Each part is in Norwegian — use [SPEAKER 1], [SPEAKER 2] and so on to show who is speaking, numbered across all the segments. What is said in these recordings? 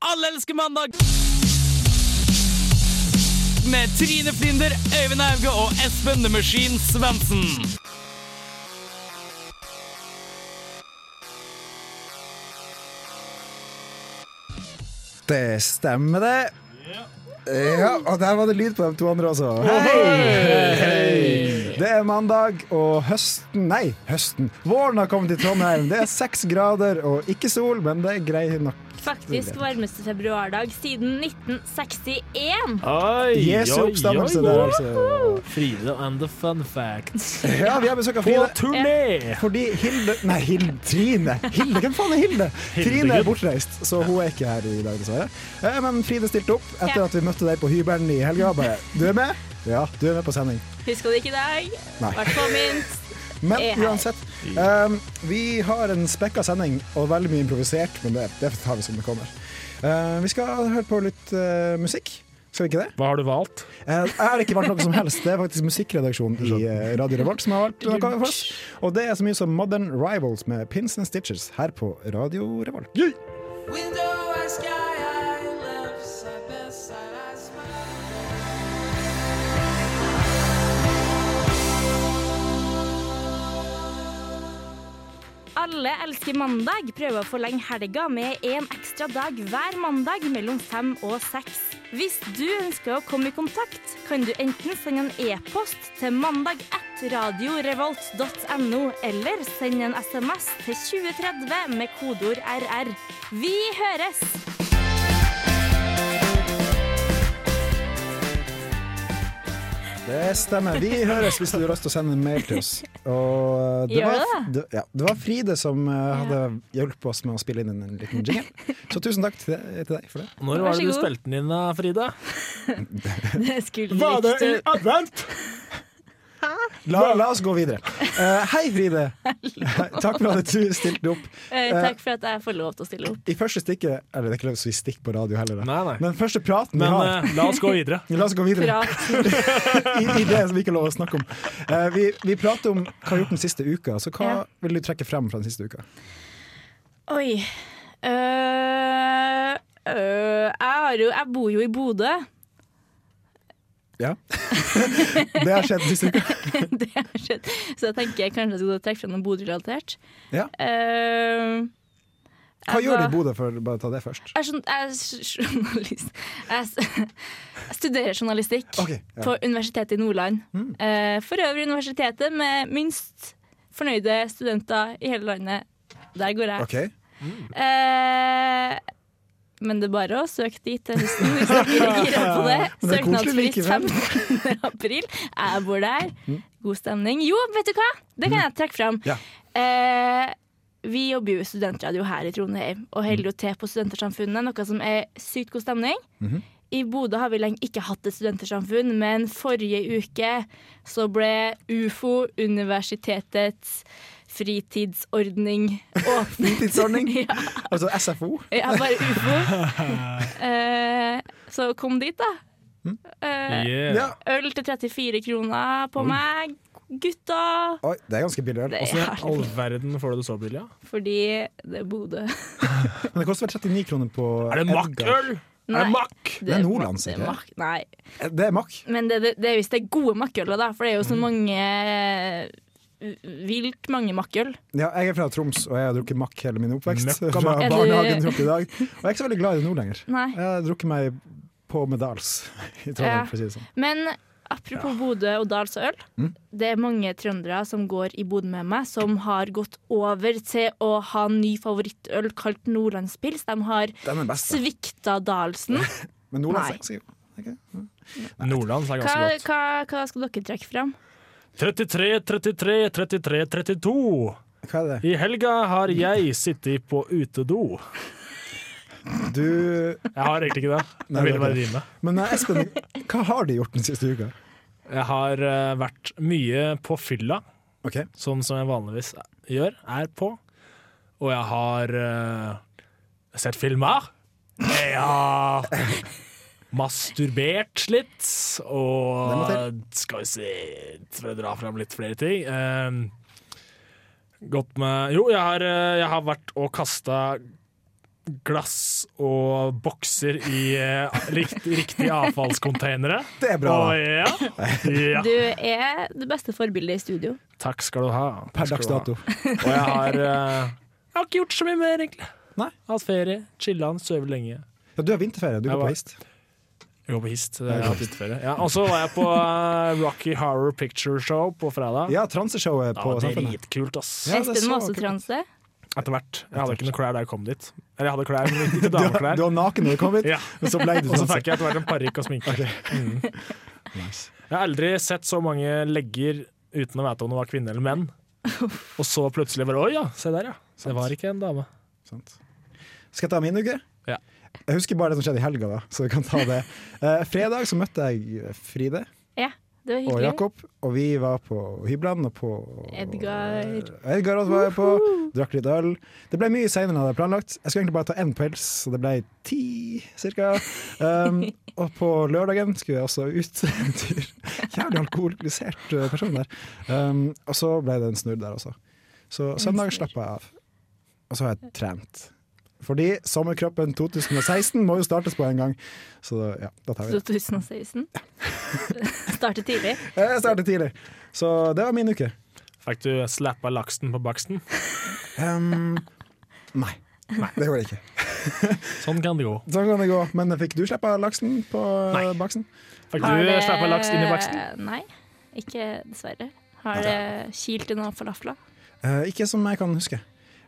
[SPEAKER 1] Alle elsker mandag! Med Trine Flinder, Øyvind Auge og Espen The Machine Svendsen.
[SPEAKER 2] Det stemmer, det. Ja, og der var det lyd på de to andre også. Det er mandag, og høsten Nei, høsten. Våren har kommet til Trondheim. Det er seks grader og ikke sol, men det er grei nok.
[SPEAKER 3] Faktisk varmeste februardag siden 1961.
[SPEAKER 4] Oi,
[SPEAKER 2] Jesu
[SPEAKER 4] oi,
[SPEAKER 2] oppstandelse
[SPEAKER 4] oi.
[SPEAKER 2] der, altså.
[SPEAKER 4] Frida and the fun facts.
[SPEAKER 2] Ja, vi har besøk av
[SPEAKER 4] På
[SPEAKER 2] Fride.
[SPEAKER 4] turné!
[SPEAKER 2] Fordi Hilde Nei, Hilde, Trine. Hilde, Hvem faen er Hilde? Trine er bortreist, så hun er ikke her i dag, dessverre. Eh, Men Fride stilte opp etter
[SPEAKER 3] Ja.
[SPEAKER 2] at vi møtte deg på hybelen i helga. Bare, du er med? Ja, du er med på sending.
[SPEAKER 3] Husker du ikke i dag?
[SPEAKER 2] Nei.
[SPEAKER 3] Hvert fall minst. Er
[SPEAKER 2] Men
[SPEAKER 3] her.
[SPEAKER 2] uansett, ehm, vi har en spekka sending og veldig mye improvisert, men det, det tar vi som det kommer. Eh, vi skal høre på litt eh, musikk. Skal vi ikke det?
[SPEAKER 4] Hva har du valgt?
[SPEAKER 2] Eh, jeg har ikke valgt noe som helst. Det er faktisk musikkredaksjonen i eh, Radio Revolt som har valgt noe for oss. Og det er så mye som Modern Rivals med Pins and Stitches her på Radio Revolt.
[SPEAKER 3] Alle elsker mandag. Prøver å forlenge helga med en ekstra dag hver mandag mellom fem og seks. Hvis du ønsker å komme i kontakt, kan du enten sende en e-post til mandag1radiorevolt.no, eller sende en SMS til 2030 med kodeord RR. Vi høres!
[SPEAKER 2] Det stemmer. Vi høres hvis du har lyst til å sende en mail til oss. Og eh, det,
[SPEAKER 3] Gjør
[SPEAKER 2] var,
[SPEAKER 3] det?
[SPEAKER 2] det, ja, det var Fride som eh, hadde hjulpet oss med å spille inn en liten jingle. Så tusen takk til deg, eh, til deg for det.
[SPEAKER 4] Når
[SPEAKER 3] Vær
[SPEAKER 4] var
[SPEAKER 3] så
[SPEAKER 4] det du
[SPEAKER 3] god.
[SPEAKER 4] spilte den inn, da, Frida?
[SPEAKER 3] Det skulle
[SPEAKER 4] advent?
[SPEAKER 2] La, la oss gå videre. Eh, hei, Fride. Takk for at du stilte opp.
[SPEAKER 3] Eh, Takk for at jeg får lov til å stille opp.
[SPEAKER 2] I første stikket Eller det er ikke lov til å si stikk på radio heller. da.
[SPEAKER 4] Nei, nei.
[SPEAKER 2] Men første praten vi
[SPEAKER 4] Men
[SPEAKER 2] har
[SPEAKER 4] eh, la oss gå videre.
[SPEAKER 2] La oss gå videre
[SPEAKER 3] Prat.
[SPEAKER 2] i, i det som vi ikke har lov å snakke om. Eh, vi, vi prater om hva vi har gjort den siste uka. Så hva
[SPEAKER 3] Ja.
[SPEAKER 2] vil du trekke frem fra den siste uka?
[SPEAKER 3] Oi. Øh, øh, jeg, har jo, jeg bor jo i Bodø.
[SPEAKER 2] Ja. det har skjedd den siste uka.
[SPEAKER 3] det har skjedd. Så jeg tenker jeg kanskje jeg skal trekke frem noe Bodø-relatert.
[SPEAKER 2] Ja.
[SPEAKER 3] Eh,
[SPEAKER 2] Hva
[SPEAKER 3] jeg
[SPEAKER 2] gjør du
[SPEAKER 3] var-
[SPEAKER 2] i Bodø, for å bare ta det først?
[SPEAKER 3] Jeg er, sånn, jeg er s- journalist. Jeg, s- jeg studerer journalistikk
[SPEAKER 2] Ok, ja. Mm.
[SPEAKER 3] på Universitetet i Nordland. Eh, for øvrig universitetet med minst fornøyde studenter i hele landet. Der går jeg.
[SPEAKER 2] OK.
[SPEAKER 3] Eh, men det er bare å søke dit til høsten hvis dere er gira på det.
[SPEAKER 2] Men det er koselig Mm.
[SPEAKER 3] Søknadsfrist 15. april. Jeg bor der. God stemning. Jo, vet du hva? Det kan jeg trekke fram.
[SPEAKER 2] Ja.
[SPEAKER 3] Eh, vi jobber jo i studentradio her i Trondheim og holder jo til på Studentersamfunnet, noe som er sykt god stemning.
[SPEAKER 2] Mhm.
[SPEAKER 3] I Bodø har vi lenge ikke hatt et studentersamfunn, men forrige uke så ble UFO, universitetets fritidsordning, åpnet.
[SPEAKER 2] Fritidsordning?
[SPEAKER 3] ja.
[SPEAKER 2] Altså SFO?
[SPEAKER 3] Ja, bare ufo. Eh, så kom dit, da.
[SPEAKER 2] Mm.
[SPEAKER 3] Eh,
[SPEAKER 4] Yeah.
[SPEAKER 2] Ja.
[SPEAKER 3] øl til 34 kroner på meg. Gutta!
[SPEAKER 2] Oi, det er ganske billig øl.
[SPEAKER 3] Det
[SPEAKER 4] Åssen i
[SPEAKER 3] er herlig,
[SPEAKER 4] all verden får du det så billig? Ja?
[SPEAKER 3] fordi det er Bodø.
[SPEAKER 2] Altså, Men det koster vel 39 kroner på
[SPEAKER 4] Er det
[SPEAKER 2] Edgar.
[SPEAKER 4] makkøl? Er det
[SPEAKER 3] Nei.
[SPEAKER 4] makk?
[SPEAKER 2] Det er Nordland,
[SPEAKER 3] det er
[SPEAKER 2] sikkert.
[SPEAKER 3] mak- Nei.
[SPEAKER 2] Eh, Det er makk.
[SPEAKER 3] Men det, det, det er hvis det er gode makkøler, da. For det er
[SPEAKER 2] Mm.
[SPEAKER 3] jo så mange eh, Vilt mange makkøl.
[SPEAKER 2] Ja, jeg er fra Troms, og jeg har drukket makk hele min oppvekst.
[SPEAKER 4] Møkka
[SPEAKER 2] Fra
[SPEAKER 4] makk.
[SPEAKER 3] Er du-
[SPEAKER 2] barnehagen til opp i dag. Og jeg er ikke så veldig glad i det nå lenger.
[SPEAKER 3] Nei.
[SPEAKER 2] Jeg har drukket meg på med Dals i
[SPEAKER 3] Ja.
[SPEAKER 2] Trondheim, for å si det sånn.
[SPEAKER 3] Men apropos Bodø og Dals og øl.
[SPEAKER 2] Mm.
[SPEAKER 3] Det er mange trøndere som går i Bodø med meg, som har gått over til å ha ny favorittøl kalt Nordlandspils. De har
[SPEAKER 2] Den er best. da.
[SPEAKER 3] svikta Dalsen.
[SPEAKER 2] Men
[SPEAKER 3] Nei.
[SPEAKER 2] Nordland er ganske okay.
[SPEAKER 4] Nordlands er
[SPEAKER 3] Hva,
[SPEAKER 4] ganske godt.
[SPEAKER 3] hva, hva skal dere trekke fram?
[SPEAKER 4] 33, 33, 33, 32.
[SPEAKER 2] Hva er det?
[SPEAKER 4] I helga har jeg sittet på utedo.
[SPEAKER 2] Du
[SPEAKER 4] Jeg har egentlig ikke det.
[SPEAKER 2] Nei,
[SPEAKER 4] Jeg ville
[SPEAKER 2] det er
[SPEAKER 4] bare
[SPEAKER 2] det.
[SPEAKER 4] rime.
[SPEAKER 2] Men eh, Espen, hva har du gjort den siste uka?
[SPEAKER 4] Jeg har eh, vært mye på fylla,
[SPEAKER 2] OK.
[SPEAKER 4] sånn som jeg vanligvis gjør, er på. Og jeg har eh, sett filmer. Jeg har masturbert litt,
[SPEAKER 2] Det må
[SPEAKER 4] og skal vi se Prøve å dra fram litt flere ting. Eh, Gått med Jo, jeg har, eh, jeg har vært og kasta glass og bokser i eh, rikt, riktige avfallskonteinere.
[SPEAKER 2] Det er bra.
[SPEAKER 4] Og ja, ja.
[SPEAKER 3] Du er det beste forbildet i studio.
[SPEAKER 4] Takk skal du ha. Takk
[SPEAKER 2] Per
[SPEAKER 4] skal
[SPEAKER 2] dags
[SPEAKER 4] du ha.
[SPEAKER 2] dato.
[SPEAKER 4] Og jeg har eh, Jeg har ikke gjort så mye mer, egentlig.
[SPEAKER 2] Nei.
[SPEAKER 4] Hatt ferie, chilla, sovet lenge.
[SPEAKER 2] Ja, du har vinterferie, du
[SPEAKER 4] Jeg
[SPEAKER 2] går
[SPEAKER 4] var-
[SPEAKER 2] på hist.
[SPEAKER 4] Jeg går på hist. det har jeg hatt hytteferie. Ja, og så var jeg på eh, Rocky Horror Picture Show på fredag.
[SPEAKER 2] Ja, transeshowet
[SPEAKER 4] det
[SPEAKER 2] på
[SPEAKER 4] var
[SPEAKER 2] Samfunnet.
[SPEAKER 4] dritkult, ass.
[SPEAKER 2] Ja, det er
[SPEAKER 3] Espen
[SPEAKER 2] så
[SPEAKER 3] var også
[SPEAKER 2] kult.
[SPEAKER 3] transe.
[SPEAKER 4] Etter hvert. Jeg hadde ikke noe klær da jeg kom dit. Eller jeg hadde klær, men ikke dameklær.
[SPEAKER 2] Du var naken når du kom hit,
[SPEAKER 4] Ja.
[SPEAKER 2] og så ble du
[SPEAKER 4] Og så
[SPEAKER 2] sånn.
[SPEAKER 4] fikk jeg etter hvert en parykk og sminke. Mm.
[SPEAKER 2] Nice.
[SPEAKER 4] Jeg har aldri sett så mange legger uten å vite om det var kvinne eller menn. Og så plutselig bare Oi, ja, se der, ja. Det var ikke en dame.
[SPEAKER 2] Sant. Skal jeg ta min uke?
[SPEAKER 4] Ja.
[SPEAKER 2] Jeg husker bare det som skjedde i helga, da, så vi kan ta det. Eh, fredag så møtte jeg Fride
[SPEAKER 3] Ja, det var
[SPEAKER 2] og
[SPEAKER 3] hyggelig.
[SPEAKER 2] Jakob, og vi var på hyblene og på
[SPEAKER 3] Edgar.
[SPEAKER 2] Edgar også var jeg på. Drakk litt øl. Det ble mye seinere enn jeg hadde planlagt. Jeg skulle egentlig bare ta én pels, så det ble ti cirka. Um, og på lørdagen skulle jeg også ut en tur. Jævlig alkoholisert eh, person der. Um, og så ble det en snurr der også. Så søndag slapp jeg av. Og så har jeg trent. Fordi sommerkroppen 2016 må jo startes på en gang. Så da- ja, da tar vi det.
[SPEAKER 3] 2016. Startet tidlig.
[SPEAKER 2] Eh, Jeg startet tidlig. Så det var min uke.
[SPEAKER 4] Fikk du slappa laksen på baksten?
[SPEAKER 2] Um, nei. det gjorde jeg ikke.
[SPEAKER 4] Sånn kan det gå.
[SPEAKER 2] Sånn kan det gå. Men fikk du slippe laksen på
[SPEAKER 4] Nei.
[SPEAKER 2] baksen?
[SPEAKER 4] Fikk
[SPEAKER 3] Har
[SPEAKER 4] du
[SPEAKER 3] det-
[SPEAKER 4] slappa laks inn i baksten?
[SPEAKER 3] Nei, ikke dessverre. Har det kilt i noen falafler?
[SPEAKER 2] Eh, ikke som jeg kan huske.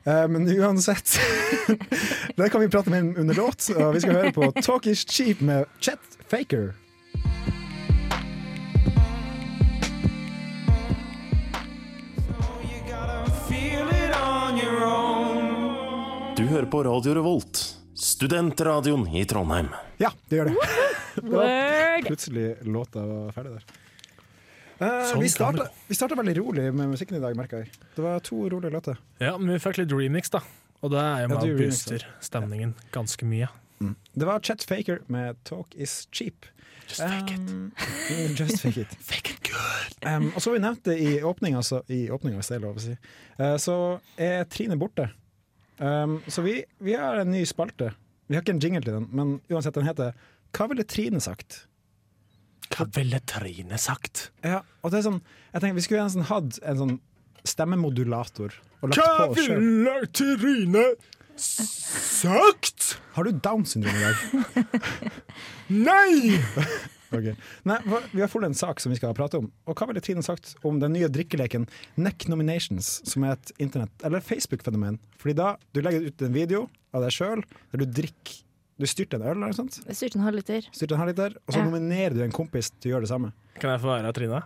[SPEAKER 2] Eh, men uansett Det kan vi prate mer om under låt. Og vi skal høre på Talk Is Cheap med Chet Faker.
[SPEAKER 5] Du hører på Radio Revolt, studentradioen i Trondheim.
[SPEAKER 2] Ja, det gjør det.
[SPEAKER 3] Word!
[SPEAKER 2] Plutselig låta var ferdig der. Eh,
[SPEAKER 4] Sånn
[SPEAKER 2] vi
[SPEAKER 4] kan det
[SPEAKER 2] starta vi starta veldig rolig med musikken i dag, merka jeg. Det var to rolige låter.
[SPEAKER 4] Ja, men vi fikk litt remix, da. Og det er jo
[SPEAKER 2] Ja,
[SPEAKER 4] med
[SPEAKER 2] du
[SPEAKER 4] og
[SPEAKER 2] remixer.
[SPEAKER 4] booster stemningen ganske mye.
[SPEAKER 2] Det var Chet Faker med Talk Is Cheap.
[SPEAKER 4] Just fake it.
[SPEAKER 2] Um, Just fake it. Um, og så vi nevnte i åpninga, altså, i åpninga, hvis det er lov å si, eh, så er Trine borte. Um, så vi, vi har en ny spalte. Vi har ikke en jingle til den, men uansett, den heter Hva ville Trine sagt?
[SPEAKER 4] Hva ville Trine sagt?
[SPEAKER 2] Ja, og det er sånn, jeg tenker, Vi skulle nesten hatt en sånn stemmemodulator og lagt
[SPEAKER 4] Hva
[SPEAKER 2] på oss sjøl.
[SPEAKER 4] ville Trine sagt?
[SPEAKER 2] Har du Downs syndrom i dag?
[SPEAKER 4] Nei!
[SPEAKER 2] Ok. Nei, for Vi har funnet en sak som vi skal prate om. Og hva ville Trine sagt om den nye drikkeleken Neck Nominations, som er et internett- eller Facebook-fenomen? Fordi da du legger ut en video av deg sjøl der du drikker Du styrter en øl, eller noe sånt,
[SPEAKER 3] Det styrte en halvliter.
[SPEAKER 2] styrter en halvliter, og så
[SPEAKER 3] Ja.
[SPEAKER 2] nominerer du en kompis til å gjøre det samme.
[SPEAKER 4] Kan jeg få være Trine?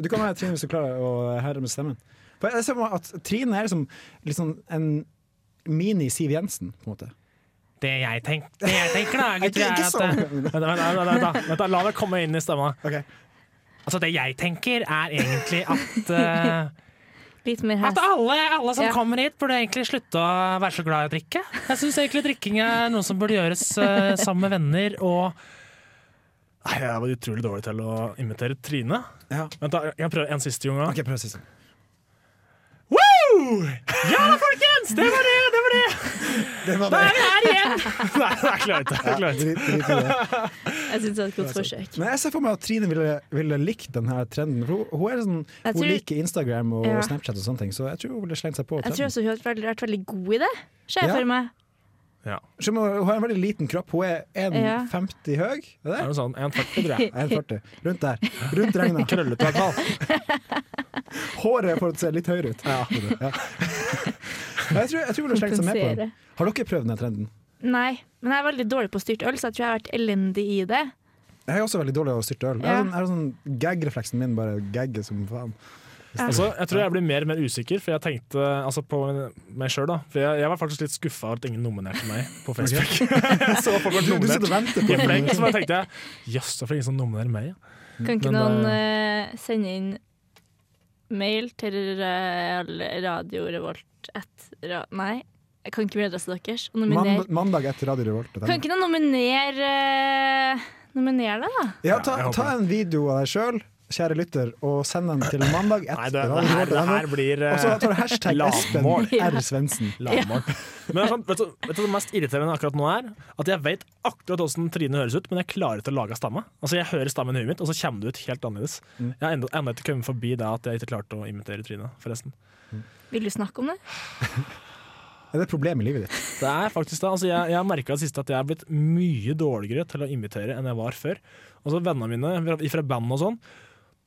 [SPEAKER 2] Du kan være Trine hvis du klarer å herre med stemmen. For jeg ser for meg at Trine er liksom, liksom en mini-Siv Jensen, på en måte.
[SPEAKER 4] Det jeg, tenk, det jeg tenker, da,
[SPEAKER 2] Ikke- ikke sånn.
[SPEAKER 4] Vent, da, vent, da, vent, da, vent, da. vent, da, la meg komme inn i stemma.
[SPEAKER 2] Ok.
[SPEAKER 4] Altså, det jeg tenker, er egentlig at eh,
[SPEAKER 3] Litt mer hest.
[SPEAKER 4] At alle, alle som
[SPEAKER 3] Ja.
[SPEAKER 4] kommer hit, burde egentlig slutte å være så glad i å drikke. Jeg syns egentlig drikking er noe som burde gjøres eh, sammen med venner og Nei, Jeg var utrolig dårlig til å imitere Trine.
[SPEAKER 2] Ja.
[SPEAKER 4] Vent da, Jeg prøver en siste gang.
[SPEAKER 2] Ok, prøv sist.
[SPEAKER 4] Woo! Ja da, folkens! Det var det! Det var det!
[SPEAKER 2] Det var
[SPEAKER 4] Da
[SPEAKER 2] det.
[SPEAKER 4] er vi her igjen! Nei, jeg klarer ikke. Jeg klarer ikke.
[SPEAKER 2] Drit, drit i det.
[SPEAKER 3] Jeg syns det er et godt forsøk.
[SPEAKER 2] Men jeg ser for meg at Trine ville, ville likt denne trenden. For hun, hun, er sånn,
[SPEAKER 3] Jeg
[SPEAKER 2] hun
[SPEAKER 3] tror-
[SPEAKER 2] liker Instagram og
[SPEAKER 3] Ja.
[SPEAKER 2] Snapchat og sånne ting, så jeg tror hun ville slengt seg på
[SPEAKER 3] Jeg tror
[SPEAKER 2] trenden.
[SPEAKER 3] også hun har vært, vært veldig god i det, ser jeg
[SPEAKER 2] Ja.
[SPEAKER 3] for meg.
[SPEAKER 2] Så må- Hun har en veldig liten kropp. Hun er 1,50 høy. Er det
[SPEAKER 4] Er
[SPEAKER 2] det?
[SPEAKER 4] det sånn 1,40, tror jeg.
[SPEAKER 2] 1,40. Rundt der. Rundt regna.
[SPEAKER 4] Krøllete, i hvert fall.
[SPEAKER 2] Håret får se litt høyere ut. Ja. Jeg tror, jeg tror hun ville slengt seg med på den.
[SPEAKER 3] Kompensere.
[SPEAKER 2] Har dere prøvd denne trenden?
[SPEAKER 3] Nei, men jeg er veldig dårlig på å styrte øl, så jeg tror jeg har vært elendig i det.
[SPEAKER 2] Jeg er også veldig dårlig til å styrte øl. Jeg
[SPEAKER 3] Ja.
[SPEAKER 2] har sånn, jeg har sånn gag-refleksen min bare gagger som faen.
[SPEAKER 4] Altså, jeg tror jeg blir mer og mer usikker, for jeg tenkte altså, på meg sjøl, da. For jeg, jeg var faktisk litt skuffa over at ingen nominerte meg på Facebook. Jeg så folk
[SPEAKER 2] Du,
[SPEAKER 4] ble
[SPEAKER 2] du sitter og
[SPEAKER 4] nominert.
[SPEAKER 2] venter på
[SPEAKER 4] I fleng, så bare tenkte jeg jøss, hvorfor er det ingen som nominerer meg? ja?
[SPEAKER 3] Kan ikke
[SPEAKER 4] Men,
[SPEAKER 3] noen eh, sende inn mail til eh, Radio Revolt at ra Nei, jeg kan ikke mailadressa deres. Og nominere.
[SPEAKER 2] Mand mandag etter Radio Revolt. og den-
[SPEAKER 3] Kan ikke noen nominere eh, Nominere deg, da?
[SPEAKER 2] Ja, ta,
[SPEAKER 4] jeg håper
[SPEAKER 2] ta en video av deg sjøl kjære lytter, og send den til mandag etter
[SPEAKER 4] Nei, det, det, her, det her blir
[SPEAKER 2] Og så
[SPEAKER 4] eh,
[SPEAKER 2] tar du hashtag Espen
[SPEAKER 4] lavmål.
[SPEAKER 2] R. Svendsen.
[SPEAKER 4] Lavmål. Men det er sånn, vet, du, vet du det mest irriterende akkurat nå er? At jeg vet akkurat hvordan Trine høres ut, men jeg klarer ikke å lage stemme. Altså Jeg hører stammen i huet mitt, og så kommer det ut helt annerledes. Jeg har enda, enda ikke kommet forbi det at jeg ikke klarte å imitere Trine, forresten.
[SPEAKER 3] Vil du snakke om det?
[SPEAKER 2] Er det et problem i livet ditt?
[SPEAKER 4] Det er faktisk det. Altså, jeg, jeg har merka sist at jeg er blitt mye dårligere til å imitere enn jeg var før. Altså Vennene mine fra- fra band og sånn,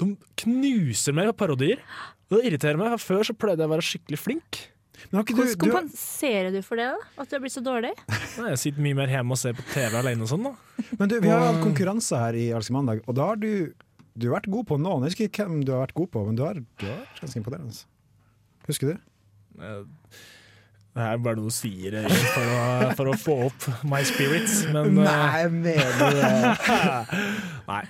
[SPEAKER 4] de knuser meg på parodier. Og det irriterer meg, for før så pleide jeg å være skikkelig flink.
[SPEAKER 2] Men har ikke
[SPEAKER 3] Hvordan
[SPEAKER 2] du, du har,
[SPEAKER 3] kompenserer du for det, da? At du har blitt så dårlig?
[SPEAKER 4] Nei, Jeg sitter mye mer hjemme og ser på TV alene og sånn, da.
[SPEAKER 2] men du, vi har hatt konkurranser her i Alsk mandag, og da har du, du har vært god på noen. Jeg husker ikke hvem du har vært god på, men du har, du har vært ganske imponerende. altså. Husker du?
[SPEAKER 4] Det her er bare noe du sier eh, for å, for å få opp my spirits, men eh,
[SPEAKER 2] mener du det?
[SPEAKER 4] nei.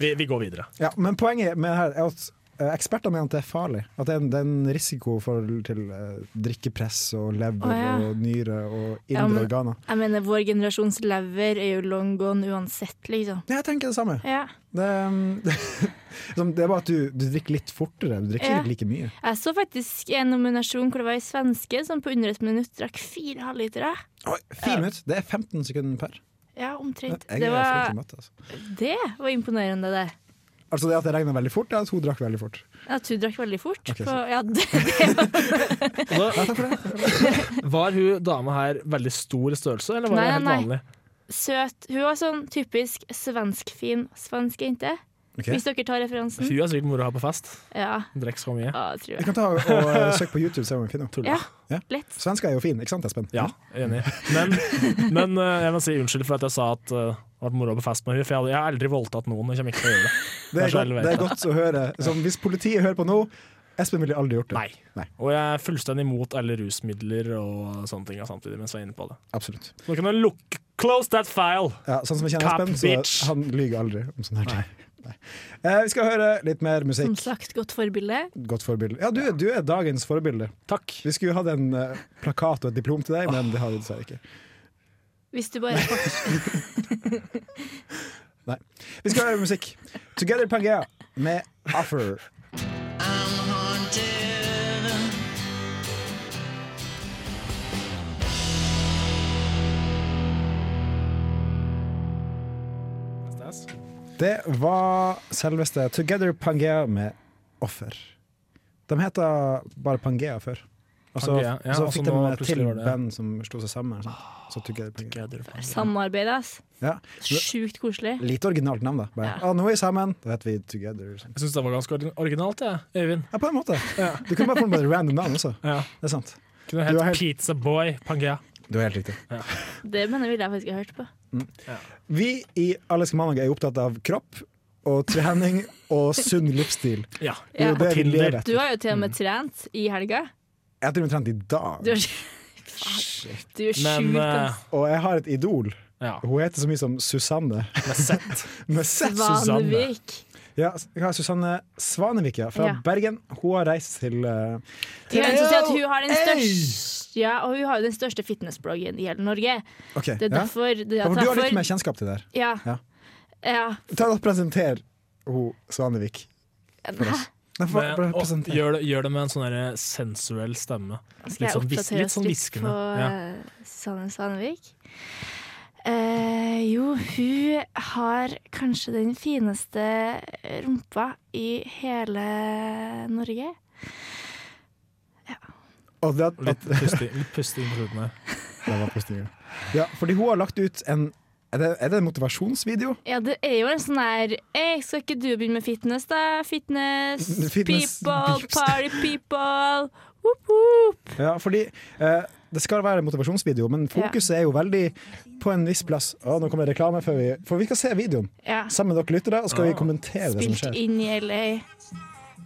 [SPEAKER 4] Vi, vi går videre.
[SPEAKER 2] Ja, men poenget med det her er at eh, eksperter mener at det er farlig. At det er en, det er en risiko for, til eh, drikkepress og lever
[SPEAKER 3] Å, ja.
[SPEAKER 2] og nyre og indre
[SPEAKER 3] Ja, men-
[SPEAKER 2] organer.
[SPEAKER 3] Jeg mener, vår generasjons lever er jo long gone uansett, liksom.
[SPEAKER 2] Ja, Jeg tenker det samme.
[SPEAKER 3] Ja.
[SPEAKER 2] Det, um, som- det er bare at du, du drikker litt fortere, du drikker
[SPEAKER 3] Ja.
[SPEAKER 2] ikke like mye.
[SPEAKER 3] Jeg så faktisk en nominasjon hvor det var ei svenske som på under et minutt drakk fire halvlitere.
[SPEAKER 2] Oi, fire minutter! Det er 15 sekunder per.
[SPEAKER 3] Ja, omtrent.
[SPEAKER 2] Jeg
[SPEAKER 3] Det
[SPEAKER 2] er flink
[SPEAKER 3] var,
[SPEAKER 2] til matte, altså.
[SPEAKER 3] det var imponerende, det.
[SPEAKER 2] altså det at det regner veldig fort, det er at hun drakk veldig fort.
[SPEAKER 3] At hun drakk veldig fort.
[SPEAKER 2] Ok, så-
[SPEAKER 3] på, ja, det,
[SPEAKER 2] Ja, takk for det.
[SPEAKER 4] Var hun dama her veldig stor i størrelse, eller var
[SPEAKER 3] Nei,
[SPEAKER 4] hun helt
[SPEAKER 3] nei,
[SPEAKER 4] vanlig?
[SPEAKER 3] søt. Hun var sånn typisk svenskfin svensk jente,
[SPEAKER 2] Ok.
[SPEAKER 3] hvis dere tar
[SPEAKER 4] Hun
[SPEAKER 3] referansen.
[SPEAKER 4] er sikkert moro å ha på fest.
[SPEAKER 3] Ja,
[SPEAKER 4] Drikker så mye.
[SPEAKER 3] ja, tror
[SPEAKER 2] Jeg
[SPEAKER 3] jeg.
[SPEAKER 2] kan ta og eh, søke på YouTube, se om vi finner henne.
[SPEAKER 4] Tulla.
[SPEAKER 3] Ja, lett.
[SPEAKER 2] Svensker er jo fin, ikke sant Espen?
[SPEAKER 4] Ja, enig. Men, men eh, jeg må si unnskyld for at jeg sa at eh, det har vært moro på fest med henne, for jeg, hadde- jeg har aldri voldtatt noen. Jeg kommer ikke til å gjøre det.
[SPEAKER 2] Det er,
[SPEAKER 4] Kanskje
[SPEAKER 2] godt,
[SPEAKER 4] alle vet
[SPEAKER 2] det er godt å høre. Som hvis politiet hører på nå, Espen ville aldri gjort det.
[SPEAKER 4] Nei. Og jeg er fullstendig imot alle rusmidler og sånne ting samtidig mens jeg er inne på det.
[SPEAKER 2] Absolutt.
[SPEAKER 4] Så nå kan du lukke Close that file!
[SPEAKER 2] Ja, sånn som jeg kjenner
[SPEAKER 4] Cap
[SPEAKER 2] Espen, så
[SPEAKER 4] bitch.
[SPEAKER 2] han lyger aldri om sånne her ting. Nei. Eh, vi skal høre litt mer
[SPEAKER 3] Som
[SPEAKER 2] musikk.
[SPEAKER 3] sagt, godt forbilde.
[SPEAKER 2] Godt forbilde. Ja, du, du er dagens forbilde.
[SPEAKER 4] Takk.
[SPEAKER 2] Vi skulle jo hatt en eh, plakat og et diplom til deg, men det har vi dessverre ikke.
[SPEAKER 3] Hvis du bare fortsetter.
[SPEAKER 2] Vi skal høre musikk. Together Pangea med Offer. Det var selveste Together Pangea med Offer. De heter bare Pangea før. Og så,
[SPEAKER 4] Pangea, ja,
[SPEAKER 2] så
[SPEAKER 4] og så
[SPEAKER 2] fikk
[SPEAKER 4] nå
[SPEAKER 2] de
[SPEAKER 4] plutselig
[SPEAKER 2] til
[SPEAKER 4] var det-
[SPEAKER 2] band som slo seg sammen. Sant? Så Together Pangea.
[SPEAKER 3] Samarbeid, ass.
[SPEAKER 2] Ja.
[SPEAKER 3] Sjukt koselig.
[SPEAKER 2] Litt originalt navn, da. Bare,
[SPEAKER 3] Ja.
[SPEAKER 2] «Å, nå er vi sammen, da heter vi Together. sant?
[SPEAKER 4] Jeg syns det var ganske orgi- originalt, jeg, Øyvind.
[SPEAKER 2] Ja, på en måte. Du kunne bare funnet på et random navn også.
[SPEAKER 4] Ja.
[SPEAKER 2] Det er sant.
[SPEAKER 4] Kunne
[SPEAKER 2] Du er
[SPEAKER 4] hett
[SPEAKER 2] helt-
[SPEAKER 4] Pizza Boy Pangea.
[SPEAKER 2] Du er helt riktig.
[SPEAKER 3] Det mener jeg ville jeg faktisk ha hørt på.
[SPEAKER 2] Vi i Alex Mandag er jo opptatt av kropp og trening og sunn livsstil.
[SPEAKER 4] Ja.
[SPEAKER 2] Det er jo
[SPEAKER 3] Ja.
[SPEAKER 2] det vi
[SPEAKER 4] Tinder.
[SPEAKER 2] lever
[SPEAKER 3] Du
[SPEAKER 2] etter.
[SPEAKER 3] har jo til og
[SPEAKER 2] Mm.
[SPEAKER 3] med trent i helga.
[SPEAKER 2] Jeg har til og med trent i dag,
[SPEAKER 3] Du er, du er
[SPEAKER 4] Men, eh,
[SPEAKER 3] sjukt ass.
[SPEAKER 2] og jeg har et idol.
[SPEAKER 4] Ja.
[SPEAKER 2] Hun heter så mye som Susanne.
[SPEAKER 4] Med sett.
[SPEAKER 2] Med Z.
[SPEAKER 3] Svanevik.
[SPEAKER 2] Ja, hva er Susanne Svanevik ja, fra
[SPEAKER 3] Ja.
[SPEAKER 2] Bergen. Hun har reist til eh,
[SPEAKER 3] Det er en som sier at hun har den
[SPEAKER 2] Hey!
[SPEAKER 3] største Ja, og hun har jo den største fitnessbloggen i hele Norge.
[SPEAKER 2] OK.
[SPEAKER 3] Det er
[SPEAKER 2] ja.
[SPEAKER 3] derfor det
[SPEAKER 2] Ja,
[SPEAKER 3] er
[SPEAKER 2] for du har litt
[SPEAKER 3] derfor-
[SPEAKER 2] mer kjennskap til det her.
[SPEAKER 3] Ja.
[SPEAKER 2] Ja.
[SPEAKER 3] ja.
[SPEAKER 2] Ta og Presenter hun Svanevik for oss. Nei, for,
[SPEAKER 4] Men,
[SPEAKER 2] bare
[SPEAKER 4] og,
[SPEAKER 2] presenter.
[SPEAKER 4] gjør, det, gjør det med en sånn der sensuell stemme.
[SPEAKER 3] Skal jeg
[SPEAKER 4] Litt sånn hvis-
[SPEAKER 3] oppdatere
[SPEAKER 4] litt
[SPEAKER 3] oss
[SPEAKER 4] sånn
[SPEAKER 3] litt
[SPEAKER 4] hviskende,
[SPEAKER 3] på eh, Susanne Svanevik? Eh, jo, hun har kanskje den fineste rumpa i hele Norge.
[SPEAKER 2] Og det, at,
[SPEAKER 4] Litt pusting, litt pusting på slutten her.
[SPEAKER 2] det var postinga. Ja, fordi hun har lagt ut en Er det, er det en motivasjonsvideo?
[SPEAKER 3] Ja, det er jo en sånn her «Ei, Skal ikke du begynne med fitness, da? Fitness,
[SPEAKER 2] Fitness
[SPEAKER 3] people,
[SPEAKER 2] beeps.
[SPEAKER 3] party people. Whoop, whoop.
[SPEAKER 2] Ja, fordi eh, det skal være en motivasjonsvideo, men fokuset er jo veldig på en viss plass. Å, nå kommer det reklame, før vi, for vi skal se videoen
[SPEAKER 3] Ja.
[SPEAKER 2] sammen med dere lyttere. Og skal vi
[SPEAKER 4] Ah.
[SPEAKER 2] kommentere det som
[SPEAKER 3] Spilt
[SPEAKER 2] skjer.
[SPEAKER 3] inn i LA.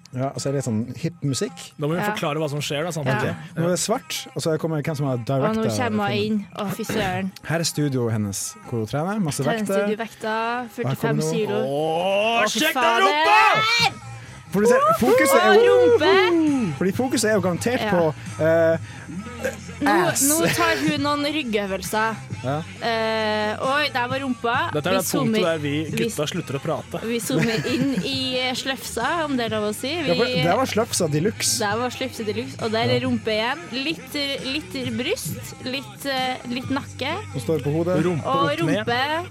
[SPEAKER 2] Ja, og så er det litt sånn hipp musikk.
[SPEAKER 4] Da må vi
[SPEAKER 3] Ja.
[SPEAKER 4] forklare hva som skjer. Da,
[SPEAKER 3] Ja.
[SPEAKER 4] samtidig.
[SPEAKER 2] Nå er det svart, og så kommer hvem som har
[SPEAKER 3] Og nå
[SPEAKER 2] directa.
[SPEAKER 3] kommer hun
[SPEAKER 2] filmen.
[SPEAKER 3] inn. Å, fy søren.
[SPEAKER 2] Her er studioet hennes, hvor hun trener. Masse vekter.
[SPEAKER 3] Treningsstudiovekta,
[SPEAKER 2] Her kommer
[SPEAKER 3] 45
[SPEAKER 2] hun.
[SPEAKER 3] kilo. Å,
[SPEAKER 4] Åh,
[SPEAKER 3] fy
[SPEAKER 4] sjekk den
[SPEAKER 3] fader!
[SPEAKER 4] rumpa!
[SPEAKER 2] For du ser, fokuset er
[SPEAKER 3] Og
[SPEAKER 2] jo,
[SPEAKER 3] rumpe!
[SPEAKER 2] fordi fokuset er jo garantert
[SPEAKER 3] Ja.
[SPEAKER 2] på eh,
[SPEAKER 3] Nå,
[SPEAKER 2] Ass.
[SPEAKER 3] nå tar hun noen ryggøvelser.
[SPEAKER 2] Ja.
[SPEAKER 3] Eh, oi, der var rumpa.
[SPEAKER 4] Dette er det punktet der vi
[SPEAKER 3] vi-
[SPEAKER 4] gutta slutter å prate.
[SPEAKER 3] vi zoomer inn i eh, sløfsa, om det er lov å si. Vi,
[SPEAKER 2] ja, for Det var sløfsa de luxe.
[SPEAKER 3] Der var slipset de luxe, og der er rumpe igjen. Litt, litt bryst, litt, eh, litt nakke.
[SPEAKER 2] Som står på hodet.
[SPEAKER 4] Rumpe
[SPEAKER 3] Og
[SPEAKER 4] opp ned.
[SPEAKER 3] rumpe.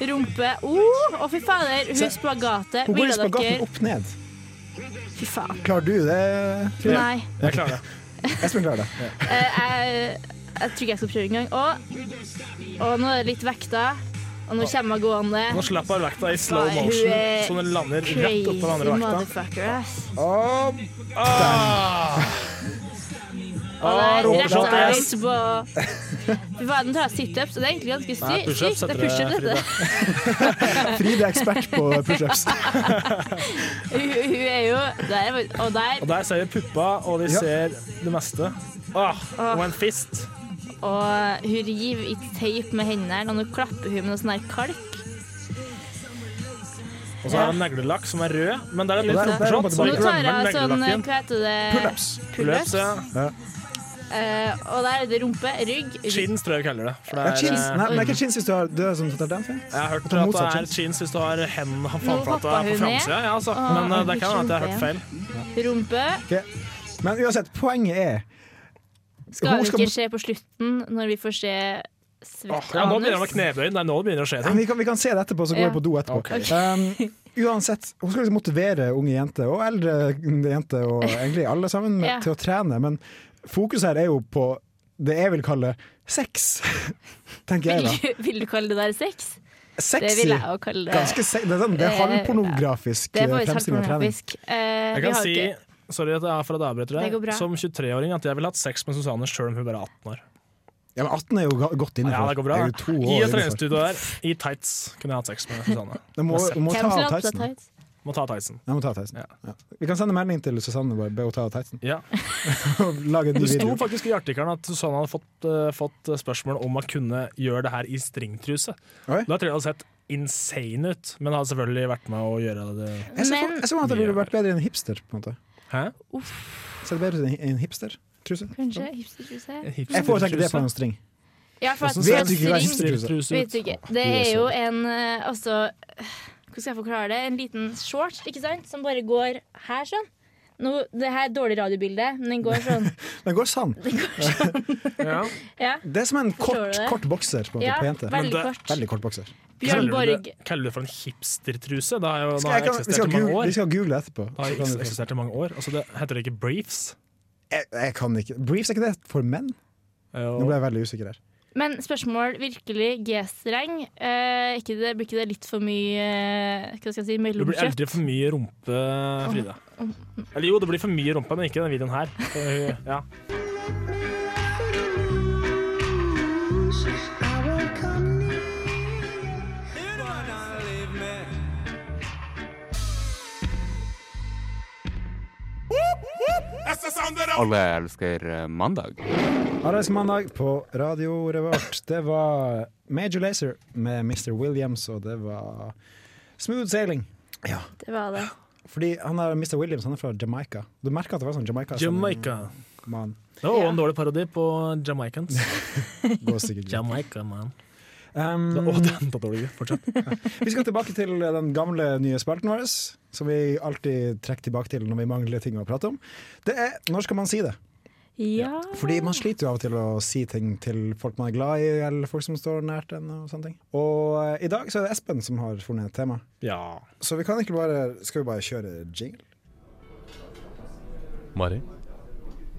[SPEAKER 3] Rumpe oh, Å, fy fader, hun spagatet.
[SPEAKER 2] Hun går i
[SPEAKER 3] Ville
[SPEAKER 2] spagaten
[SPEAKER 3] dere
[SPEAKER 2] opp ned.
[SPEAKER 3] Fy faen.
[SPEAKER 2] Klarer du det? Trine?
[SPEAKER 3] Nei.
[SPEAKER 4] Jeg klarer det.
[SPEAKER 2] Espen klarer det.
[SPEAKER 3] eh, jeg, jeg tror ikke jeg skal prøve engang. Og, og nå er det litt vekta. Og nå kommer hun gående.
[SPEAKER 4] Nå slapper han vekta i slow
[SPEAKER 3] Nei, hun
[SPEAKER 4] motion,
[SPEAKER 3] er
[SPEAKER 4] så den lander rett
[SPEAKER 3] Crazy
[SPEAKER 4] oppå den andre vekta.
[SPEAKER 3] motherfucker, ass.
[SPEAKER 2] Og
[SPEAKER 4] Ah!
[SPEAKER 3] Og der
[SPEAKER 4] rumpa
[SPEAKER 3] rett og
[SPEAKER 4] til ass.
[SPEAKER 3] slett på Fy faen, nå tar jeg situps, og det er egentlig ganske sy-
[SPEAKER 4] Nei, pushups
[SPEAKER 3] sykt. Det
[SPEAKER 4] heter
[SPEAKER 3] er
[SPEAKER 4] det,
[SPEAKER 3] pushups,
[SPEAKER 4] Frida.
[SPEAKER 3] dette.
[SPEAKER 2] Fride er ekspert på pushups.
[SPEAKER 3] Hun, hun er jo der, og der,
[SPEAKER 4] Og der ser vi puppa, og vi
[SPEAKER 2] Ja.
[SPEAKER 4] ser det meste. Åh,
[SPEAKER 3] Ah.
[SPEAKER 4] og en fist.
[SPEAKER 3] og hun river i teip med hendene, og nå klapper hun med noe sånn her kalk.
[SPEAKER 4] Og så er det en neglelakk som er rød, men der er det
[SPEAKER 2] Ja,
[SPEAKER 4] litt
[SPEAKER 2] der- der er
[SPEAKER 4] rumpeshot,
[SPEAKER 2] det
[SPEAKER 4] så vi
[SPEAKER 3] Nå tar
[SPEAKER 4] glemmer
[SPEAKER 3] hun sånn, eh,
[SPEAKER 4] neglelakken.
[SPEAKER 3] hva heter det?
[SPEAKER 2] Pull-ups.
[SPEAKER 4] Pull-ups, ja.
[SPEAKER 3] Eh, og der er det rumpe, rygg, rygg.
[SPEAKER 4] Chins tror jeg vi kaller det. For det
[SPEAKER 2] Ja,
[SPEAKER 4] er,
[SPEAKER 2] chins.
[SPEAKER 4] eh,
[SPEAKER 2] Nei, men det er ikke chins hvis du har død som tar den. for.
[SPEAKER 4] jeg har hørt
[SPEAKER 2] Det er
[SPEAKER 4] at det
[SPEAKER 2] motsatt
[SPEAKER 4] er chins hvis du har hendene
[SPEAKER 3] hoppa
[SPEAKER 4] framflata på
[SPEAKER 3] hun
[SPEAKER 4] framsida. Ja, altså.
[SPEAKER 3] Åh,
[SPEAKER 4] Men eh, det
[SPEAKER 3] hun
[SPEAKER 4] kan hende at jeg har
[SPEAKER 3] skjønte
[SPEAKER 4] hørt feil.
[SPEAKER 3] rumpe.
[SPEAKER 2] Ok. Men uansett, poenget er
[SPEAKER 3] Skal
[SPEAKER 2] Hun
[SPEAKER 3] vi
[SPEAKER 2] skal-
[SPEAKER 3] ikke se på slutten, når vi får se
[SPEAKER 4] Åh,
[SPEAKER 3] svett
[SPEAKER 4] ja, nå begynner det med
[SPEAKER 3] anus?
[SPEAKER 4] knebøy. Nei, nå begynner det å skje
[SPEAKER 2] Ja, men
[SPEAKER 4] ting.
[SPEAKER 2] vi, kan, vi kan se det etterpå, så går
[SPEAKER 3] Ja.
[SPEAKER 2] jeg på do etterpå.
[SPEAKER 4] Ok.
[SPEAKER 2] Um, uansett, hun skal liksom motivere unge jenter, og eldre jenter, og egentlig alle sammen, med,
[SPEAKER 3] Ja.
[SPEAKER 2] til å trene. Men fokuset her er jo på det jeg vil kalle sex, tenker jeg
[SPEAKER 3] Vil,
[SPEAKER 2] da.
[SPEAKER 3] du- vil du kalle det der sex? Det
[SPEAKER 2] Sexy.
[SPEAKER 3] vil jeg jo kalle det.
[SPEAKER 2] Ganske se det er, sånn, det er
[SPEAKER 3] Eh,
[SPEAKER 2] halvpornografisk
[SPEAKER 3] Det er faktisk helt
[SPEAKER 2] fremstilling av trening.
[SPEAKER 3] pornografisk. Eh,
[SPEAKER 4] Jeg
[SPEAKER 3] vi
[SPEAKER 4] kan
[SPEAKER 3] har
[SPEAKER 4] si,
[SPEAKER 3] ikke-
[SPEAKER 4] sorry at jeg for at jeg avbryter
[SPEAKER 3] Det går bra.
[SPEAKER 4] deg, som 23-åring at jeg ville hatt sex med Susanne sjøl om hun bare er 18 år.
[SPEAKER 2] Ja, men 18 er jo ga- godt innenfor.
[SPEAKER 4] Ja, det går bra.
[SPEAKER 2] er jo to
[SPEAKER 4] I
[SPEAKER 2] år
[SPEAKER 4] et
[SPEAKER 2] innenfor.
[SPEAKER 4] treningsstudio der, i tights, kunne jeg hatt sex med Susanne.
[SPEAKER 2] Du må, du må
[SPEAKER 3] Hvem
[SPEAKER 2] ta
[SPEAKER 3] skulle
[SPEAKER 2] av
[SPEAKER 3] hatt på
[SPEAKER 2] tightsen.
[SPEAKER 3] tights?
[SPEAKER 4] Må ta tightsen.
[SPEAKER 2] Jeg må ta av tightsen.
[SPEAKER 4] Ja.
[SPEAKER 2] Ja. Vi kan sende melding til Susanne bare, be henne ta av tightsen.
[SPEAKER 4] Ja.
[SPEAKER 2] Og lage en ny
[SPEAKER 4] Det sto
[SPEAKER 2] video.
[SPEAKER 4] faktisk i artikkelen at Susanne hadde fått, eh, fått spørsmål om man kunne gjøre det her i stringtruse.
[SPEAKER 2] Oi.
[SPEAKER 4] Da tror jeg det hadde sett insane ut, men hadde selvfølgelig vært med å gjøre det.
[SPEAKER 2] Jeg så,
[SPEAKER 3] Men-
[SPEAKER 2] jeg så at det ville vært bedre enn hipster, på en måte.
[SPEAKER 4] Hæ?
[SPEAKER 2] Ser det bedre ut enn en hipster-truse?
[SPEAKER 3] Kanskje
[SPEAKER 4] Eh,
[SPEAKER 3] hipstertruse?
[SPEAKER 2] Jeg foretrekker det på en string.
[SPEAKER 3] Ja, for at
[SPEAKER 2] Hvordan ser
[SPEAKER 3] en
[SPEAKER 2] en ikke hva
[SPEAKER 3] string-
[SPEAKER 2] hipster-
[SPEAKER 4] hipstertruse
[SPEAKER 3] Vet du ikke. Det er jo en eh, altså eh, Hvordan skal jeg forklare det? En liten shorts, ikke sant? Som bare går her sånn. Nå, det her er et dårlig radiobilde, men den går sånn.
[SPEAKER 2] Den går sann.
[SPEAKER 4] Ja.
[SPEAKER 3] Ja,
[SPEAKER 2] Det er som en
[SPEAKER 3] Forstår du
[SPEAKER 2] kort,
[SPEAKER 3] det?
[SPEAKER 2] kort bokser på, en måte,
[SPEAKER 3] ja
[SPEAKER 2] på jente.
[SPEAKER 3] veldig
[SPEAKER 4] det-
[SPEAKER 3] kort.
[SPEAKER 2] Veldig kort bokser.
[SPEAKER 3] Bjørn
[SPEAKER 4] Kaller du
[SPEAKER 3] Borg.
[SPEAKER 4] det- Kaller du det for en hipstertruse? Det har jo da
[SPEAKER 2] Skal
[SPEAKER 4] har
[SPEAKER 2] jeg,
[SPEAKER 4] jeg
[SPEAKER 2] kan, vi,
[SPEAKER 4] eksistert
[SPEAKER 2] skal
[SPEAKER 4] i mange
[SPEAKER 2] google,
[SPEAKER 4] år.
[SPEAKER 2] vi skal google etterpå.
[SPEAKER 4] Da har
[SPEAKER 2] Så
[SPEAKER 4] jeg
[SPEAKER 2] kan
[SPEAKER 4] eks-
[SPEAKER 2] vi-
[SPEAKER 4] eksistert i mange år. Altså, det, heter det ikke briefs?
[SPEAKER 2] Jeg, jeg kan ikke Briefs, er ikke det for menn?
[SPEAKER 4] Jo.
[SPEAKER 2] Nå ble jeg veldig usikker her.
[SPEAKER 3] Men spørsmål virkelig G-streng. Eh, ikke det, blir ikke det litt for mye eh, Hva skal jeg si,
[SPEAKER 4] Det blir
[SPEAKER 3] mellomkjøtt?
[SPEAKER 4] aldri for mye rumpe, Frida. Eller jo, det blir for mye rumpe, men ikke i denne videoen her. Så, Ja.
[SPEAKER 6] Alle elsker eh, mandag.
[SPEAKER 2] Arbeidsmandag på Radio Revolt. Det var Major Lazer med Mr. Williams, og det var smooth sailing.
[SPEAKER 3] Det var det.
[SPEAKER 2] Fordi han er Mr. Williams, han er fra Jamaica. Du merker at det var sånn Jamaica.
[SPEAKER 4] Jamaica.
[SPEAKER 2] Man
[SPEAKER 4] altså. Det var
[SPEAKER 3] Ja.
[SPEAKER 4] også en dårlig parodi på Jamaicans.
[SPEAKER 2] går sikkert ikke.
[SPEAKER 4] Jamaica, man.
[SPEAKER 2] Um,
[SPEAKER 4] Å, den var dårlig. Fortsett.
[SPEAKER 2] Vi skal tilbake til den gamle nye spalten vår, som vi alltid trekker tilbake til når vi mangler ting å prate om. Det er når skal man si det?
[SPEAKER 3] Ja.
[SPEAKER 2] Fordi man sliter jo av og til å si ting til folk man er glad i, eller folk som står nært en. Og sånne ting. Og eh, i dag så er det Espen som har funnet et tema.
[SPEAKER 4] Ja.
[SPEAKER 2] Så vi kan ikke bare Skal vi bare kjøre jingle?
[SPEAKER 7] Mari,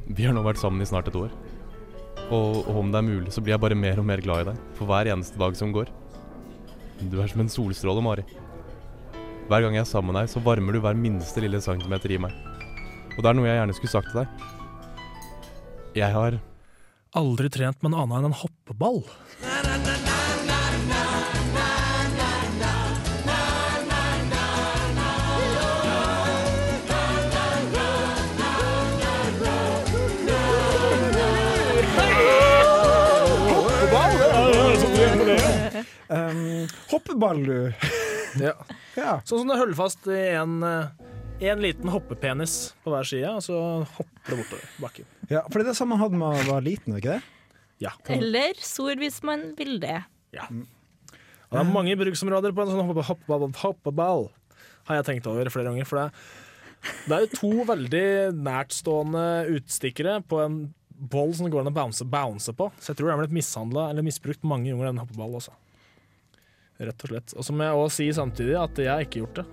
[SPEAKER 7] vi har nå vært sammen i snart et år. Og, og om det er mulig, så blir jeg bare mer og mer glad i deg for hver eneste dag som går. Du er som en solstråle, Mari. Hver gang jeg er sammen med deg, så varmer du hver minste lille centimeter i meg. Og det er noe jeg gjerne skulle sagt til deg. Jeg har
[SPEAKER 4] Aldri trent med noe annet enn en hoppeball.
[SPEAKER 2] Um, hoppeball, du!
[SPEAKER 4] Ja.
[SPEAKER 2] Ja.
[SPEAKER 4] Sånn som du holder fast i en eh, En liten hoppepenis på hver side, og så hopper det bortover bakken.
[SPEAKER 2] Ja, for det er det samme man hadde da man var liten, er det ikke det?
[SPEAKER 4] Ja.
[SPEAKER 3] Eller sor hvis man vil det.
[SPEAKER 4] Mm. Og det er mange bruksområder på en sånn hoppe- hoppeball, hoppeball har jeg tenkt over flere ganger. For det, det er jo to veldig nærtstående utstikkere på en ball som det går an å bounce, bounce på. Så jeg tror det er blitt mishandla eller misbrukt mange ganger, den hoppeballen også. Rett og slett. Og så må jeg òg si samtidig at jeg har ikke gjort det.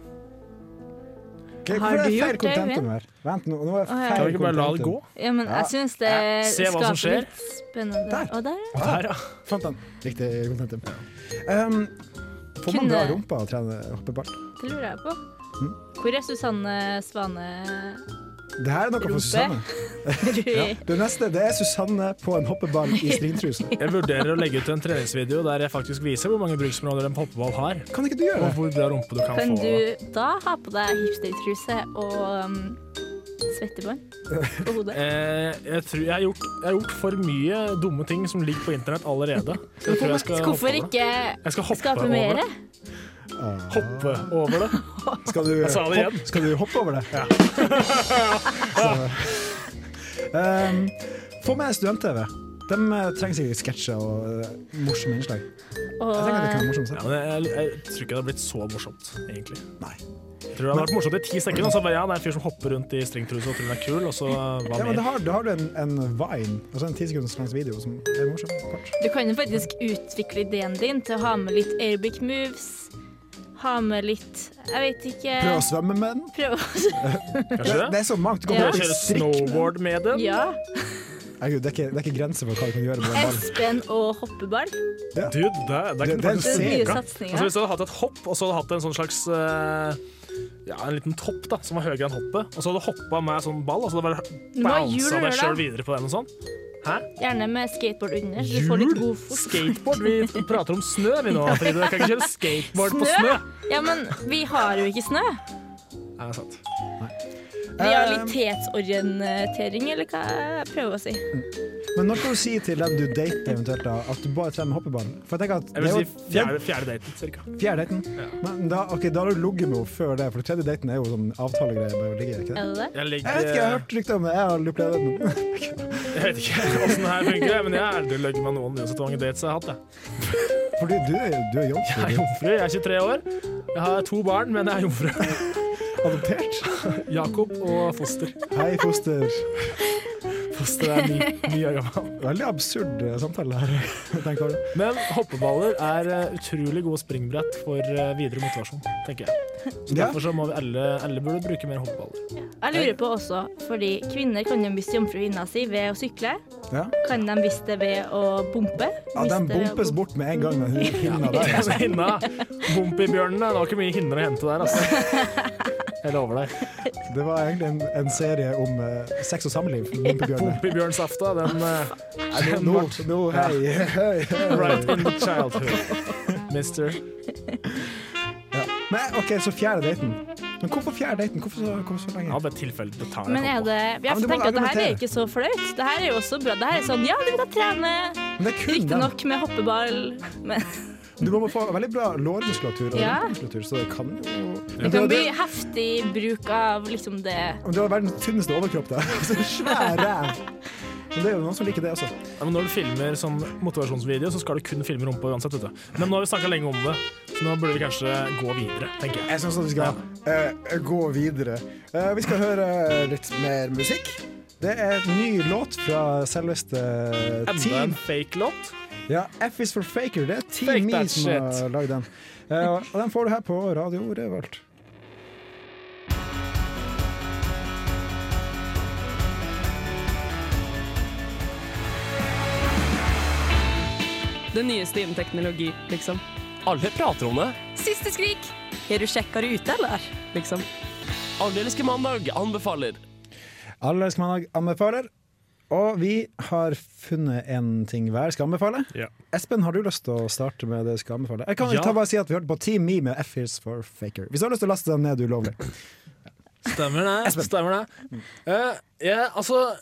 [SPEAKER 2] Okay,
[SPEAKER 3] Har
[SPEAKER 2] hvorfor er
[SPEAKER 3] du
[SPEAKER 2] det feil
[SPEAKER 3] gjort det,
[SPEAKER 2] contentum her? Vent, nå, nå er
[SPEAKER 3] Å, ja.
[SPEAKER 2] feil
[SPEAKER 4] Kan vi ikke bare la det gå?
[SPEAKER 2] contentum.
[SPEAKER 3] Ja, men jeg syns det
[SPEAKER 4] Ja, se hva som
[SPEAKER 3] skaper
[SPEAKER 4] skjer.
[SPEAKER 3] litt spennende.
[SPEAKER 2] Der.
[SPEAKER 3] Og der, ja.
[SPEAKER 4] Der, ja.
[SPEAKER 2] Fant den. Riktig contentum. Um, får
[SPEAKER 3] Kunne-
[SPEAKER 2] man bra rumpa av å trene hoppeball?
[SPEAKER 3] Det lurer jeg på.
[SPEAKER 4] Mm.
[SPEAKER 3] Hvor er Susanne Svane
[SPEAKER 2] Det her er noe
[SPEAKER 3] Rumpe.
[SPEAKER 2] for Susanne. Det neste det er Susanne på en hoppeball i stringtruse.
[SPEAKER 4] Jeg vurderer å legge ut en treningsvideo der jeg faktisk viser hvor mange bruksområder en hoppeball har.
[SPEAKER 2] Kan ikke du gjøre
[SPEAKER 4] Og
[SPEAKER 2] det?
[SPEAKER 4] hvor bra rumpe du kan,
[SPEAKER 3] Kan
[SPEAKER 4] få.
[SPEAKER 3] du da ha på deg hipstertruse og um, svettebånd på hodet?
[SPEAKER 4] Eh, jeg, tror jeg, har gjort, jeg har gjort for mye dumme ting som ligger på internett allerede. Så Jeg tror jeg skal hoppe
[SPEAKER 3] Hvorfor
[SPEAKER 4] over det.
[SPEAKER 3] ikke
[SPEAKER 4] Jeg skal hoppe
[SPEAKER 3] skape
[SPEAKER 4] over
[SPEAKER 3] mer?
[SPEAKER 4] det. Hoppe over det.
[SPEAKER 2] Skal du,
[SPEAKER 4] sa det
[SPEAKER 2] hopp,
[SPEAKER 4] igjen.
[SPEAKER 2] skal du hoppe over det? Ja. um, få med student-TV. De eh, trenger sikkert sketsjer og eh, morsomme innslag.
[SPEAKER 3] Og
[SPEAKER 2] Jeg tenker at det kan være
[SPEAKER 4] Ja,
[SPEAKER 2] morsomt.
[SPEAKER 4] men jeg, jeg, jeg tror ikke det har blitt så morsomt, egentlig.
[SPEAKER 2] Nei.
[SPEAKER 4] Jeg tror det har vært morsomt i ti sekunder, og så bare ja, det er en fyr som hopper rundt i stringtruse og tror hun er kul, og så hva
[SPEAKER 2] Ja, men da
[SPEAKER 4] mer?
[SPEAKER 2] har, da har du en, en vine, altså en ti sekunders lang video som er morsom. Kort.
[SPEAKER 3] du kan jo faktisk utvikle ideen din til å ha med litt airbic moves. Ha med litt Jeg vet ikke
[SPEAKER 2] Prøv å svømme med den.
[SPEAKER 3] Prøv å
[SPEAKER 2] Det,
[SPEAKER 4] Kanskje
[SPEAKER 2] det
[SPEAKER 4] det?
[SPEAKER 2] er så mangt. Du kan
[SPEAKER 3] Ja.
[SPEAKER 2] bare
[SPEAKER 4] Kjøre
[SPEAKER 2] strikke med den.
[SPEAKER 4] snowboard med den?
[SPEAKER 3] Ja.
[SPEAKER 2] Herregud, det, er ikke, det er ikke grenser for hva du kan gjøre med den ballen.
[SPEAKER 3] Espen og hoppeball. Det
[SPEAKER 4] Dude, det, det
[SPEAKER 2] Det-
[SPEAKER 4] kan
[SPEAKER 2] det er
[SPEAKER 4] faktisk
[SPEAKER 2] Ser
[SPEAKER 3] er
[SPEAKER 2] bra.
[SPEAKER 3] nye
[SPEAKER 4] Altså
[SPEAKER 3] satsinger.
[SPEAKER 4] Hvis du hadde hatt et hopp, og så hadde du hatt en sånn slags eh, Ja, en liten topp da, som var høyere enn hoppet, og så hadde du hoppa med sånn ball, og så hadde du
[SPEAKER 3] Du må ha
[SPEAKER 4] bare
[SPEAKER 3] hjul
[SPEAKER 4] bounsa
[SPEAKER 3] under,
[SPEAKER 4] deg
[SPEAKER 3] da.
[SPEAKER 4] sjøl videre på den og sånn. Hæ?
[SPEAKER 3] Gjerne med skateboard under, så du får litt
[SPEAKER 4] Hjul?
[SPEAKER 3] god fot.
[SPEAKER 4] Skateboard? Vi prater om snø vi nå, Fride. Jeg kan ikke kjøre skateboard på snø.
[SPEAKER 3] Snø? Ja, men vi har jo ikke snø.
[SPEAKER 4] Ja, det er sant.
[SPEAKER 2] Eh.
[SPEAKER 3] Realitetsorientering, eller hva jeg prøver å si.
[SPEAKER 2] Men når skal du si til den du dater eventuelt da, at du bare trener med hoppeball? For jeg tenker at
[SPEAKER 4] Jeg vil
[SPEAKER 2] det er
[SPEAKER 4] si
[SPEAKER 2] jo-
[SPEAKER 4] fjerde, fjerde daten, cirka.
[SPEAKER 2] Fjerde daten? Men da, ok, da har du ligget med henne før det, for den tredje daten er jo sånn avtalegreie. Bare å ligge, ikke det?
[SPEAKER 3] Er det det?
[SPEAKER 4] Jeg, ligger,
[SPEAKER 2] Jeg vet ikke, jeg har hørt rykter om det. Jeg har aldri opplevd det. men-
[SPEAKER 4] Jeg vet ikke åssen det her funker, men jeg har aldri løyet med noen uansett hvor mange dates jeg har hatt. Jeg.
[SPEAKER 2] Fordi du, er- du er
[SPEAKER 4] jeg er
[SPEAKER 2] jobbfri.
[SPEAKER 4] jomfru, jeg er 23 år. Jeg har to barn, men jeg er jomfru.
[SPEAKER 2] Adoptert.
[SPEAKER 4] Jakob og foster.
[SPEAKER 2] Hei, foster.
[SPEAKER 4] Foster er ni, ni år gammel.
[SPEAKER 2] Veldig absurd eh, samtale her. Tenk over det.
[SPEAKER 4] Men hoppeballer er eh, utrolig gode springbrett for eh, videre motivasjon, tenker jeg. Så
[SPEAKER 2] Ja.
[SPEAKER 4] Derfor så må vi alle, alle burde bruke mer hoppeballer.
[SPEAKER 3] Jeg
[SPEAKER 2] Eh.
[SPEAKER 3] lurer på også, fordi kvinner kan jo miste jomfruhinna si ved å sykle.
[SPEAKER 2] Ja.
[SPEAKER 3] Kan de miste det ved å bompe?
[SPEAKER 2] Ja, den
[SPEAKER 3] Miste ved å
[SPEAKER 2] bumpes
[SPEAKER 3] bompe.
[SPEAKER 2] bort med en gang, den hinna der.
[SPEAKER 4] Altså, hinna, Bompibjørnene, det var ikke mye hinner å hente der, altså. Jeg lover deg.
[SPEAKER 2] Det var egentlig en, en serie om eh, sex og samliv. Bumpebjørner.
[SPEAKER 4] Bompibjørnsafta, den eh,
[SPEAKER 2] Nå, nå, nå, hei, hei, hei.
[SPEAKER 4] Right in childhood, mister.
[SPEAKER 2] Ja. Men ok, så fjerde daten. Men hvorfor fjerde daten? Hvorfor så, hvorfor så lenge?
[SPEAKER 4] Ja, ved et tilfelle det tar
[SPEAKER 3] Men
[SPEAKER 4] jeg
[SPEAKER 3] er
[SPEAKER 4] hoppa.
[SPEAKER 3] det
[SPEAKER 2] Ja,
[SPEAKER 3] Jeg
[SPEAKER 2] men du må
[SPEAKER 3] tenker at det her er
[SPEAKER 2] argumentere.
[SPEAKER 3] ikke så flaut. Det her er jo også bra. Det her er sånn ja, du kan trene.
[SPEAKER 2] Men det er kun den.
[SPEAKER 3] Riktignok med hoppeball, men
[SPEAKER 2] Du må få veldig bra lårmuskulatur og
[SPEAKER 3] Ja.
[SPEAKER 2] rumpemuskulatur, så det kan jo
[SPEAKER 3] det kan bli heftig bruk av liksom det
[SPEAKER 2] Men Du har verdens tynneste overkropp, da. Så svær ræv. Men det er jo noen som liker det også.
[SPEAKER 4] Ja, men når du filmer sånn motivasjonsvideo, så skal du kun filme rumpa uansett, vet du. Men nå har vi snakka lenge om det, så nå burde vi kanskje gå videre, tenker jeg.
[SPEAKER 2] Jeg syns vi skal eh, gå videre. Eh, vi skal høre litt mer musikk. Det er en ny låt fra selveste eh,
[SPEAKER 4] Enda
[SPEAKER 2] Team
[SPEAKER 4] en fake låt.
[SPEAKER 2] Ja, F is for faker. Det er
[SPEAKER 4] Fake
[SPEAKER 2] Team Me
[SPEAKER 4] that
[SPEAKER 2] som
[SPEAKER 4] shit.
[SPEAKER 2] har lagd den. Eh, og den får du her på Radio Revolt.
[SPEAKER 8] Det nyeste innen teknologi, liksom.
[SPEAKER 9] Alle prater om det.
[SPEAKER 8] Siste skrik! Har du sjekka det ute, eller? Liksom.
[SPEAKER 9] Allelske mandag anbefaler.
[SPEAKER 2] Alle skal man anbefaler. Og vi har funnet en ting hver skal anbefale.
[SPEAKER 4] Ja.
[SPEAKER 2] Espen, har du lyst til å starte med det du skal anbefale? Jeg kan
[SPEAKER 4] Ja.
[SPEAKER 2] ta bare si at Vi hørte på Team Me med F is for faker. Hvis du har lyst til å laste den ned ulovlig.
[SPEAKER 4] Stemmer det. Stemmer det. Eh, jeg, altså,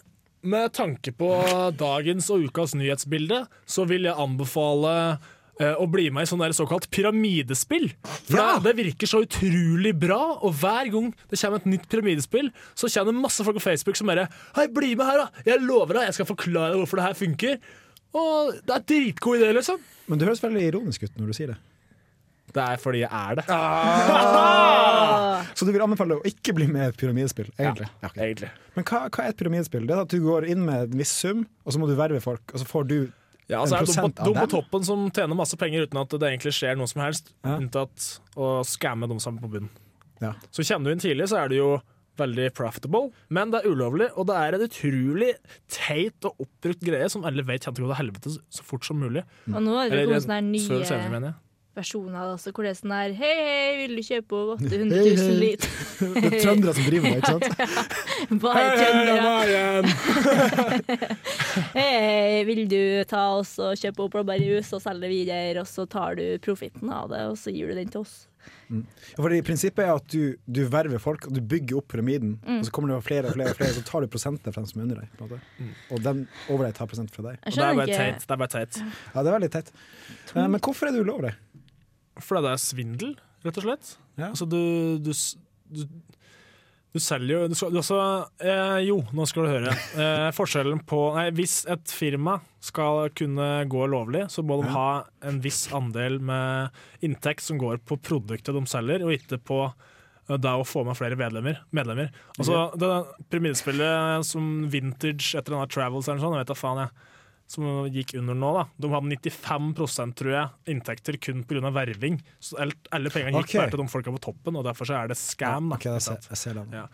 [SPEAKER 4] med tanke på dagens og ukas nyhetsbilde, så vil jeg anbefale eh, og bli med i sånn der såkalt pyramidespill. For
[SPEAKER 2] Ja!
[SPEAKER 4] det, det virker så utrolig bra, og hver gang det kommer et nytt pyramidespill, så kommer det masse folk på Facebook som bare Hei, bli med her, da! Jeg lover deg, jeg skal forklare deg hvorfor det her funker. Og det er dritgod idé, liksom.
[SPEAKER 2] Men du høres veldig ironisk ut når du sier det.
[SPEAKER 4] Det er fordi jeg er det,
[SPEAKER 2] Så du vil anbefale å ikke bli med i et pyramidespill, egentlig? Ja, ok.
[SPEAKER 4] egentlig.
[SPEAKER 2] Men hva, hva er et pyramidespill? Det er at du går inn med en viss sum, og så må du verve folk, og så får du
[SPEAKER 4] Ja,
[SPEAKER 2] En
[SPEAKER 4] altså er det dum
[SPEAKER 2] prosent
[SPEAKER 4] på,
[SPEAKER 2] av
[SPEAKER 4] dum på
[SPEAKER 2] dem?
[SPEAKER 4] toppen som tjener masse penger uten at det egentlig skjer noe som helst,
[SPEAKER 2] Ja.
[SPEAKER 4] unntatt å skamme dem sammen på bunnen.
[SPEAKER 2] Ja.
[SPEAKER 4] Så kjenner du inn tidlig, så er det jo veldig profitable, men det er ulovlig, og det er en utrolig teit og oppbrukt greie som alle vet kommer til å gå til helvete så fort som mulig.
[SPEAKER 3] Og nå er det
[SPEAKER 4] Eller,
[SPEAKER 3] noen sånne her
[SPEAKER 4] Før eller senere,
[SPEAKER 3] nye
[SPEAKER 4] mener jeg.
[SPEAKER 3] versjoner av det også, hvor det er sånn her Hei, hei, vil du kjøpe 800
[SPEAKER 2] Hei,
[SPEAKER 3] 000
[SPEAKER 2] hei.
[SPEAKER 3] liter?
[SPEAKER 2] Det er trøndere som driver med det, ikke sant?
[SPEAKER 3] Bare kjønner. Hei, vil du ta oss og kjøpe opp blåbærjus og selge det videre, og så tar du profitten av det, og så gir du den til oss?
[SPEAKER 2] Fordi prinsippet er at du, du verver folk, og du bygger opp pyramiden, og så kommer det flere og flere, og flere, og så tar du prosentene fra dem som er under deg, på en
[SPEAKER 4] Mm.
[SPEAKER 2] måte. Og den over deg tar prosent fra deg.
[SPEAKER 3] Jeg
[SPEAKER 4] Og det er
[SPEAKER 3] skjønner
[SPEAKER 4] bare
[SPEAKER 3] ikke.
[SPEAKER 4] teit. Det er bare teit.
[SPEAKER 2] Ja, det er veldig teit. Eh, Men hvorfor er det ulovlig?
[SPEAKER 4] Fordi det er svindel, rett og slett.
[SPEAKER 2] Ja.
[SPEAKER 4] Altså, du, du, s- du, du selger jo du skal, du altså, eh, Jo, nå skal du høre. Eh, forskjellen på nei, Hvis et firma skal kunne gå lovlig, så må de
[SPEAKER 2] Ja.
[SPEAKER 4] ha en viss andel med inntekt som går på produktet de selger, og ikke på eh, da å få med flere medlemmer. medlemmer. Altså, det pyramidespillet som Vintage etter denne Travels eller noe sånt, jeg vet da faen jeg, som gikk under nå, da. De hadde 95 tror jeg, inntekter kun pga. verving. Så alt, alle pengene
[SPEAKER 2] Ok.
[SPEAKER 4] gikk bare til de folka på toppen, og derfor så er det scam. Da,
[SPEAKER 2] Ok, jeg
[SPEAKER 4] ikke
[SPEAKER 2] ser,
[SPEAKER 4] sant?
[SPEAKER 2] jeg ser landet.
[SPEAKER 4] Ja.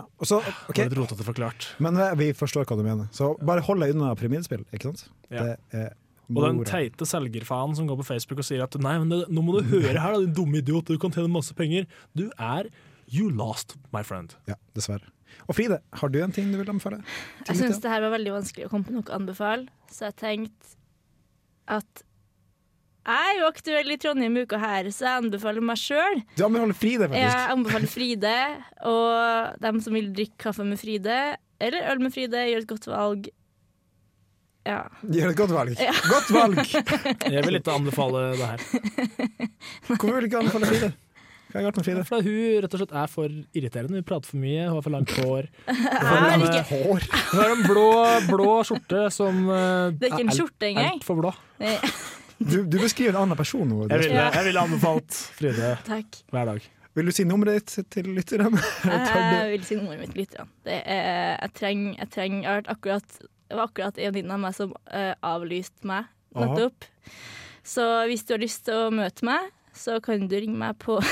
[SPEAKER 2] Ja. Og så, ok,
[SPEAKER 4] Det var litt rotete forklart.
[SPEAKER 2] Men eh, vi forstår hva du mener. Så bare hold deg unna pyramidespill, ikke sant?
[SPEAKER 4] Ja.
[SPEAKER 2] Det er
[SPEAKER 4] Og den
[SPEAKER 2] mora.
[SPEAKER 4] teite selgerfaen som går på Facebook og sier at nei, men det, nå må du høre her, da, din dumme idiot, du kan tjene masse penger. Du er You lost, my friend.
[SPEAKER 2] Ja, dessverre. Og Fride, har du en ting du vil anbefale?
[SPEAKER 3] Jeg syns det her var veldig vanskelig å komme på noe å anbefale, så jeg tenkte at jeg er jo aktuell i Trondheim uka her, så jeg anbefaler meg sjøl.
[SPEAKER 2] Du anbefaler Fride,
[SPEAKER 3] Jeg
[SPEAKER 2] faktisk.
[SPEAKER 3] anbefaler Fride, og dem som vil drikke kaffe med Fride, eller øl med Fride, gjør et godt valg. Ja.
[SPEAKER 2] Gjør et godt valg. Godt valg!
[SPEAKER 4] Jeg vil ikke anbefale det her.
[SPEAKER 2] Hvorfor vil du ikke anbefale Fride? Hva har jeg gjort med Fride?
[SPEAKER 4] Fordi hun rett og slett er for irriterende. Hun prater for mye, hun har for langt hår.
[SPEAKER 3] Jeg har ikke,
[SPEAKER 2] Hår.
[SPEAKER 4] Hun har en blå, blå skjorte som eh,
[SPEAKER 3] det er ikke en skjorte engang.
[SPEAKER 4] altfor blå.
[SPEAKER 3] Nei,
[SPEAKER 2] Du, du beskriver en annen person nå.
[SPEAKER 4] Jeg ville,
[SPEAKER 3] Ja.
[SPEAKER 4] jeg ville anbefalt Fride
[SPEAKER 3] Takk.
[SPEAKER 4] hver dag.
[SPEAKER 2] Vil du si nummeret ditt til lytterne?
[SPEAKER 3] Eh, Jeg vil si nummeret mitt litt. grann. Det er, jeg trenger jeg trenger- jeg har vært akkurat, Det var akkurat en venninne av meg som eh, avlyste meg
[SPEAKER 2] Aha.
[SPEAKER 3] nettopp. Så hvis du har lyst til å møte meg, så kan du ringe meg på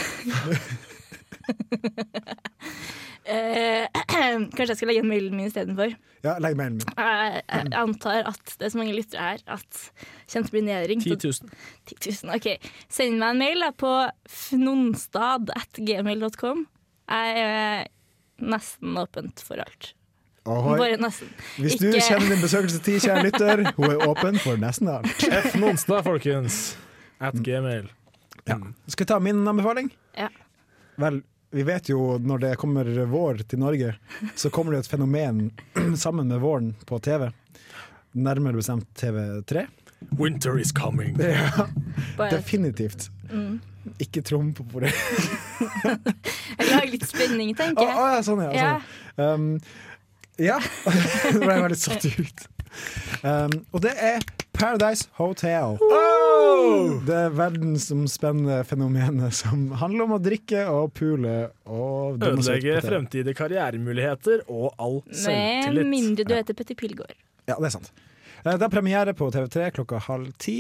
[SPEAKER 3] Eh, Kanskje jeg skal legge inn mailen min istedenfor.
[SPEAKER 2] Ja, legg mailen min.
[SPEAKER 3] Jeg, jeg antar at det er så mange lyttere her at jeg kommer til å bli nedringt.
[SPEAKER 4] 10
[SPEAKER 3] og
[SPEAKER 4] 000.
[SPEAKER 3] 10 000, ok. Send meg en mail da, på fnonstad.gmail.com. Jeg er nesten åpent for alt.
[SPEAKER 2] Ahoy.
[SPEAKER 3] Bare nesten.
[SPEAKER 2] Hvis du
[SPEAKER 3] ikke-
[SPEAKER 2] kjenner din besøkelsestid, kjære lytter, hun er åpen for nesten alt.
[SPEAKER 4] F. Nonstad, folkens. At gmail.
[SPEAKER 2] Ja. Skal vi ta min anbefaling?
[SPEAKER 3] Ja.
[SPEAKER 2] Vel, vi vet jo når det kommer vår til Norge, så kommer det et fenomen sammen med våren på TV. Nærmere bestemt TV3.
[SPEAKER 4] Winter is coming.
[SPEAKER 3] Bare,
[SPEAKER 2] Definitivt.
[SPEAKER 3] Mm.
[SPEAKER 2] Ikke trompe på det.
[SPEAKER 3] jeg lager litt spenning,
[SPEAKER 2] Å,
[SPEAKER 3] tenker jeg.
[SPEAKER 2] å, ja, sånn, ja.
[SPEAKER 3] Ja.
[SPEAKER 2] Sånn. Um, ja. Nå ble jeg veldig satt ut. Um, og det er Paradise Hotel. Det verdensomspennende fenomenet som handler om å drikke og pule og dumme seg ut på
[SPEAKER 4] Ødelegge
[SPEAKER 2] TV.
[SPEAKER 4] fremtidige karrieremuligheter og all
[SPEAKER 3] Med
[SPEAKER 4] selvtillit.
[SPEAKER 3] mindre du heter Petter Pilgaard.
[SPEAKER 2] Ja, det er sant. Eh, Det er premiere på TV3 klokka halv ti,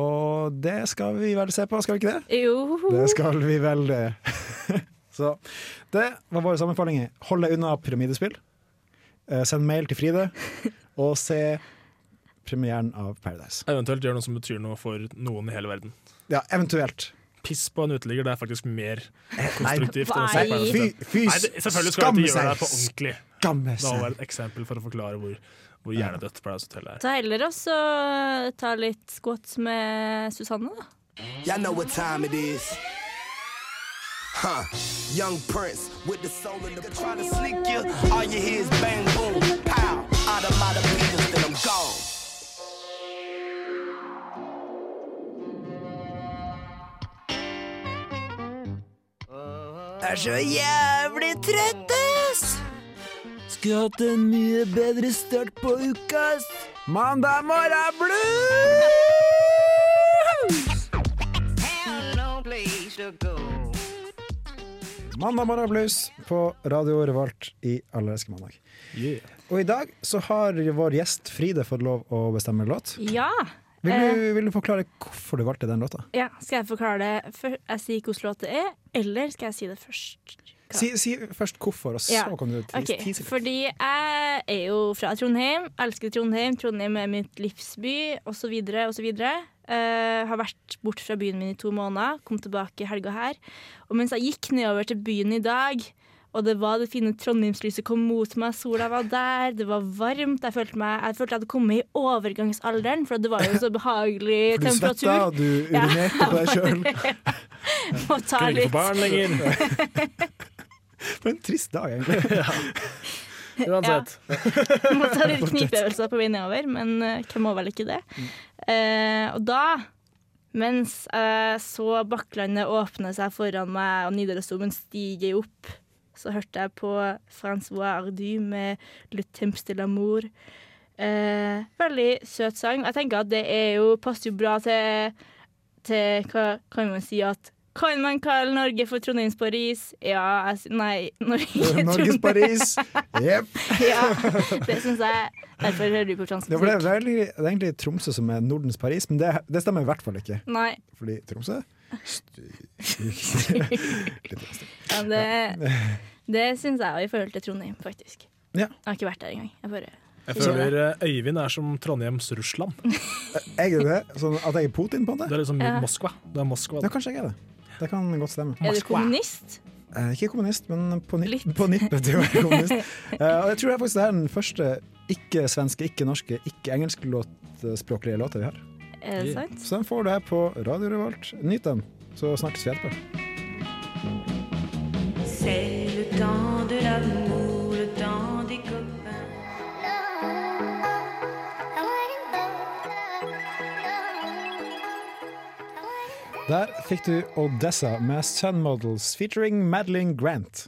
[SPEAKER 2] og det skal vi vel se på, skal vi ikke det?
[SPEAKER 3] Jo,
[SPEAKER 2] Det skal vi vel det. Så det var våre sammenfallinger. Hold deg unna pyramidespill. Eh, Send mail til Fride, og se premieren av Paradise.
[SPEAKER 4] Eventuelt gjør noe som betyr noe for noen i hele verden.
[SPEAKER 2] Ja, eventuelt.
[SPEAKER 4] Piss på en uteligger, det er faktisk mer
[SPEAKER 2] Eh, Nei,
[SPEAKER 4] konstruktivt. enn å se på en
[SPEAKER 2] fy,
[SPEAKER 4] eventuelt.
[SPEAKER 2] fy
[SPEAKER 4] Nei, det, selvfølgelig skal jeg
[SPEAKER 2] skamme
[SPEAKER 4] ikke gjøre det her på
[SPEAKER 2] seg!
[SPEAKER 4] ordentlig.
[SPEAKER 2] Skamme
[SPEAKER 4] Det var
[SPEAKER 2] seg!
[SPEAKER 4] et eksempel for å forklare hvor, hvor hjernedødt Paradise Hotel er.
[SPEAKER 3] ta heller også ta litt squats med Susanne, da.
[SPEAKER 10] er så jævlig trøtt, ass! Skulle hatt en mye bedre start på uka, ass.
[SPEAKER 2] Mandag morgen blues! Mandag morgen blues på Radio Revolt i Allerske mandag. Og i dag så har vår gjest Fride fått lov å bestemme låt.
[SPEAKER 3] Ja.
[SPEAKER 2] Vil du,
[SPEAKER 3] Eh.
[SPEAKER 2] vil du forklare hvorfor du valgte den låta?
[SPEAKER 3] ja. Skal jeg forklare det før jeg sier hvilken låt det er, eller skal jeg si det først?
[SPEAKER 2] Si, si først hvorfor, og så
[SPEAKER 3] Ja.
[SPEAKER 2] kan du ti-
[SPEAKER 3] Ok,
[SPEAKER 2] tise litt.
[SPEAKER 3] Fordi jeg er jo fra Trondheim, elsker Trondheim. Trondheim er mitt livsby, osv. osv. Uh, har vært borte fra byen min i to måneder, kom tilbake i helga her. Og mens jeg gikk nedover til byen i dag, og det var det fine trondheimslyset kom mot meg, sola var der, det var varmt, jeg følte, meg, jeg følte jeg hadde kommet i overgangsalderen, for det var jo så behagelig
[SPEAKER 2] For du
[SPEAKER 3] temperatur.
[SPEAKER 2] svetta, og du
[SPEAKER 3] Ja,
[SPEAKER 2] urinerte på deg sjøl.
[SPEAKER 3] Må ta
[SPEAKER 4] Skulle ikke
[SPEAKER 3] litt
[SPEAKER 4] på barn lenger.
[SPEAKER 2] For en trist dag, egentlig.
[SPEAKER 4] Uansett.
[SPEAKER 3] Må ta litt knipeøvelser på vei nedover, men eh, hvem må vel ikke det?
[SPEAKER 2] Mm.
[SPEAKER 3] Eh, og da, mens jeg så Bakklandet åpne seg foran meg og Nidarosdomen stige opp, så hørte jeg på Francois Ardu med 'Le Temps de l'amour'. Eh, veldig søt sang. Jeg tenker at det er jo, passer jo bra til, til Hva kan man si at Kan man kalle Norge for Trondheims Paris? Ja, jeg, sier- nei Norge,
[SPEAKER 2] Eh, Norges
[SPEAKER 3] Trondheim-
[SPEAKER 2] Paris. Jepp.
[SPEAKER 3] ja, det syns jeg. Derfor hører du på
[SPEAKER 2] Ja, for det, er
[SPEAKER 3] transmusikk.
[SPEAKER 2] veldig, det er egentlig Tromsø som er Nordens Paris, men det, det stemmer i hvert fall ikke.
[SPEAKER 3] Nei,
[SPEAKER 2] Fordi Tromsø
[SPEAKER 3] men det, det syns jeg jo i forhold til Trondheim, faktisk.
[SPEAKER 2] Ja.
[SPEAKER 3] Jeg har ikke vært der engang. Jeg bare
[SPEAKER 4] Jeg føler eh, Øyvind er som Trondheims Russland.
[SPEAKER 2] Jeg er det, sånn at jeg er Putin på det?
[SPEAKER 4] Det er liksom
[SPEAKER 3] Ja.
[SPEAKER 4] Moskva. Det er Moskva.
[SPEAKER 2] Ja, kanskje jeg er det. Det kan godt stemme.
[SPEAKER 3] Er du kommunist?
[SPEAKER 2] Jeg er ikke kommunist, men på, ni
[SPEAKER 3] Litt.
[SPEAKER 2] på nippet til å være kommunist. Eh, og jeg tror det er faktisk det er den første ikke-svenske, ikke-norske, ikke-engelskspråklige låta vi har.
[SPEAKER 3] Er det sant?
[SPEAKER 2] Så den får du her på Radio Revolt. Nyt den, så snakkes vi etterpå. Der fikk du Odessa med Sun Models featuring Madeline Grant.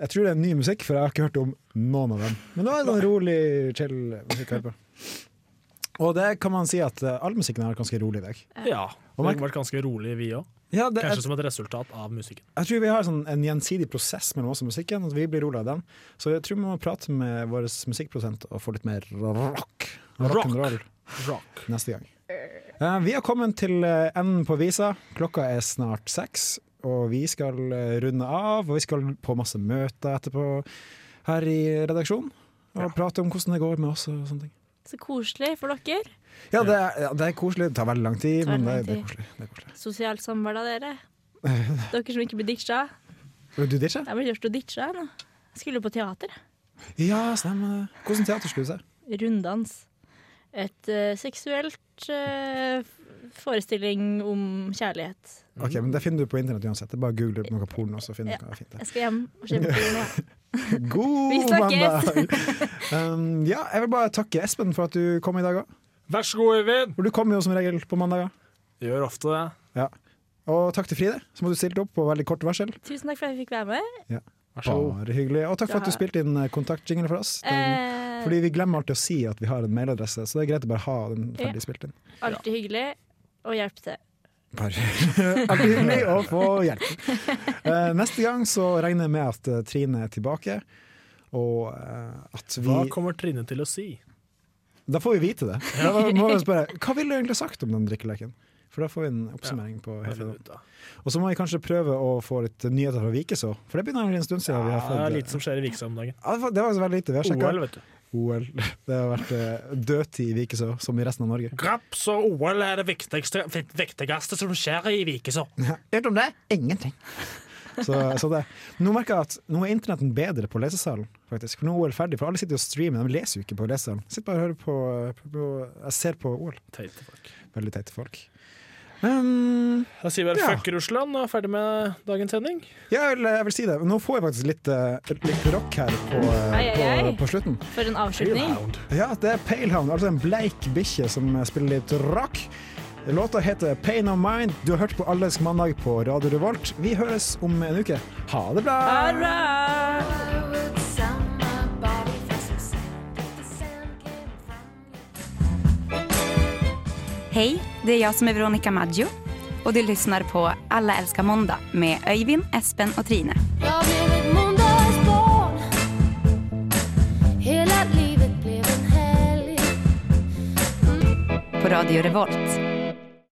[SPEAKER 2] Jeg tror det er ny musikk, for jeg har ikke hørt om noen av dem. Men det var en sånn rolig, chill musikk å høre på. Og det kan man si at eh, all musikken her er ganske rolig i dag.
[SPEAKER 4] Ja. Vi har vært ganske rolige, vi òg.
[SPEAKER 2] Ja, det,
[SPEAKER 4] Kanskje
[SPEAKER 2] jeg,
[SPEAKER 4] som et resultat av musikken.
[SPEAKER 2] jeg tror vi har sånn en gjensidig prosess mellom oss og musikken, at vi blir rolig av den. Så jeg tror vi må prate med vår musikkprosent og få litt mer rock. Rock and roll
[SPEAKER 4] Rock.
[SPEAKER 2] neste gang. Eh, vi har kommet til eh, enden på visa. Klokka er snart seks, og vi skal eh, runde av. Og vi skal på masse møter etterpå her i redaksjonen. Og prate om hvordan det går med oss og sånne ting.
[SPEAKER 3] Så koselig for dere.
[SPEAKER 2] Ja, det er, ja, det er koselig. Det tar veldig lang tid,
[SPEAKER 3] Tar
[SPEAKER 2] men det,
[SPEAKER 3] lang
[SPEAKER 2] det er
[SPEAKER 3] tid.
[SPEAKER 2] koselig. Det er koselig.
[SPEAKER 3] Sosialt samvær, da, dere. Dere som ikke blir ditcha.
[SPEAKER 2] Vil du ditche?
[SPEAKER 3] Jeg ble gjort å ditche jeg nå. Jeg Skulle på teater.
[SPEAKER 2] Ja, stemmer. det. Hvordan teater skulle du se?
[SPEAKER 3] Runddans. Et eh, seksuelt eh, forestilling om kjærlighet.
[SPEAKER 2] Ok, men Det finner du på internett uansett. Det er bare å google noe porno, så finner du hva fint det er.
[SPEAKER 3] Jeg skal hjem og se på film. jeg. Vi
[SPEAKER 2] God
[SPEAKER 3] snakkes!
[SPEAKER 2] mandag! Um, ja, jeg vil bare takke Espen for at du kom i dag òg.
[SPEAKER 4] Vær så god, Øyvind!
[SPEAKER 2] For du kommer jo som regel på mandager.
[SPEAKER 4] Gjør ofte det.
[SPEAKER 2] Ja. Og takk til Fride, som hadde stilt opp på veldig kort varsel.
[SPEAKER 3] Tusen takk for at jeg fikk være med.
[SPEAKER 4] Vær så god.
[SPEAKER 2] Bare hyggelig. Og takk for at du spilte inn eh, kontaktjingle for oss. Den,
[SPEAKER 3] Eh,
[SPEAKER 2] fordi vi glemmer alltid å si at vi har en mailadresse, så det er greit å bare ha den
[SPEAKER 3] Ja.
[SPEAKER 2] ferdig spilt inn.
[SPEAKER 3] Alltid hyggelig å hjelpe til.
[SPEAKER 2] Bare Alltid hyggelig å få hjelp. Eh, neste gang så regner jeg med at eh, Trine er tilbake, og eh, at vi
[SPEAKER 4] Hva kommer Trine til å si?
[SPEAKER 2] Da får vi vite det. Da må vi spørre hva ville du egentlig sagt om den drikkeleken? For da får vi en oppsummering på
[SPEAKER 4] Det
[SPEAKER 2] hele
[SPEAKER 4] finner
[SPEAKER 2] det.
[SPEAKER 4] vi ut av.
[SPEAKER 2] Og så må vi kanskje prøve å få litt nyheter fra Vikeså, for det begynner å bli en stund siden vi
[SPEAKER 4] Ja,
[SPEAKER 2] har
[SPEAKER 4] det
[SPEAKER 2] fått eh,
[SPEAKER 4] er lite som skjer i Viksa om dagen.
[SPEAKER 2] Ja, det var- det var veldig lite. Vi har sjekket
[SPEAKER 4] OL, vet du.
[SPEAKER 2] OL. Det har vært eh, dødtid i Vikeså, som i resten av Norge.
[SPEAKER 4] Graps og OL er det viktigste, viktigste som skjer i Vikeså.
[SPEAKER 2] Hørt om det? Ingenting. Så, så det. Nå merker jeg at nå er internetten bedre på lesesalen, faktisk. For nå er OL ferdig, for alle sitter jo og streamer, de leser jo ikke på lesesalen. Sitter bare og hører på, på Jeg ser på OL.
[SPEAKER 4] Teite folk.
[SPEAKER 2] Veldig teite folk. Um,
[SPEAKER 4] Da sier vi bare
[SPEAKER 2] Ja.
[SPEAKER 4] fuck Russland og er ferdig med dagens sending.
[SPEAKER 2] ja, jeg vil, jeg vil si det. Nå får jeg faktisk litt, eh, litt rock her på, eh,
[SPEAKER 3] Ai, ai, ai.
[SPEAKER 2] på, på slutten.
[SPEAKER 3] For en avslutning.
[SPEAKER 2] Ja, det er Palehound, altså en bleik bikkje som spiller litt rock. Låta heter Pain of Mind. Du har hørt på Allersk mandag på Radio Revolt. Vi høres om en uke. Ha det bra!
[SPEAKER 11] Hej, det är jag som är Veronica Maggio och du lyssnar på Alla älskar måndag med Öyvind, Espen och Trine.
[SPEAKER 12] Jag blev ett måndagsbarn Hela livet blev en helg
[SPEAKER 11] På Radio Revolt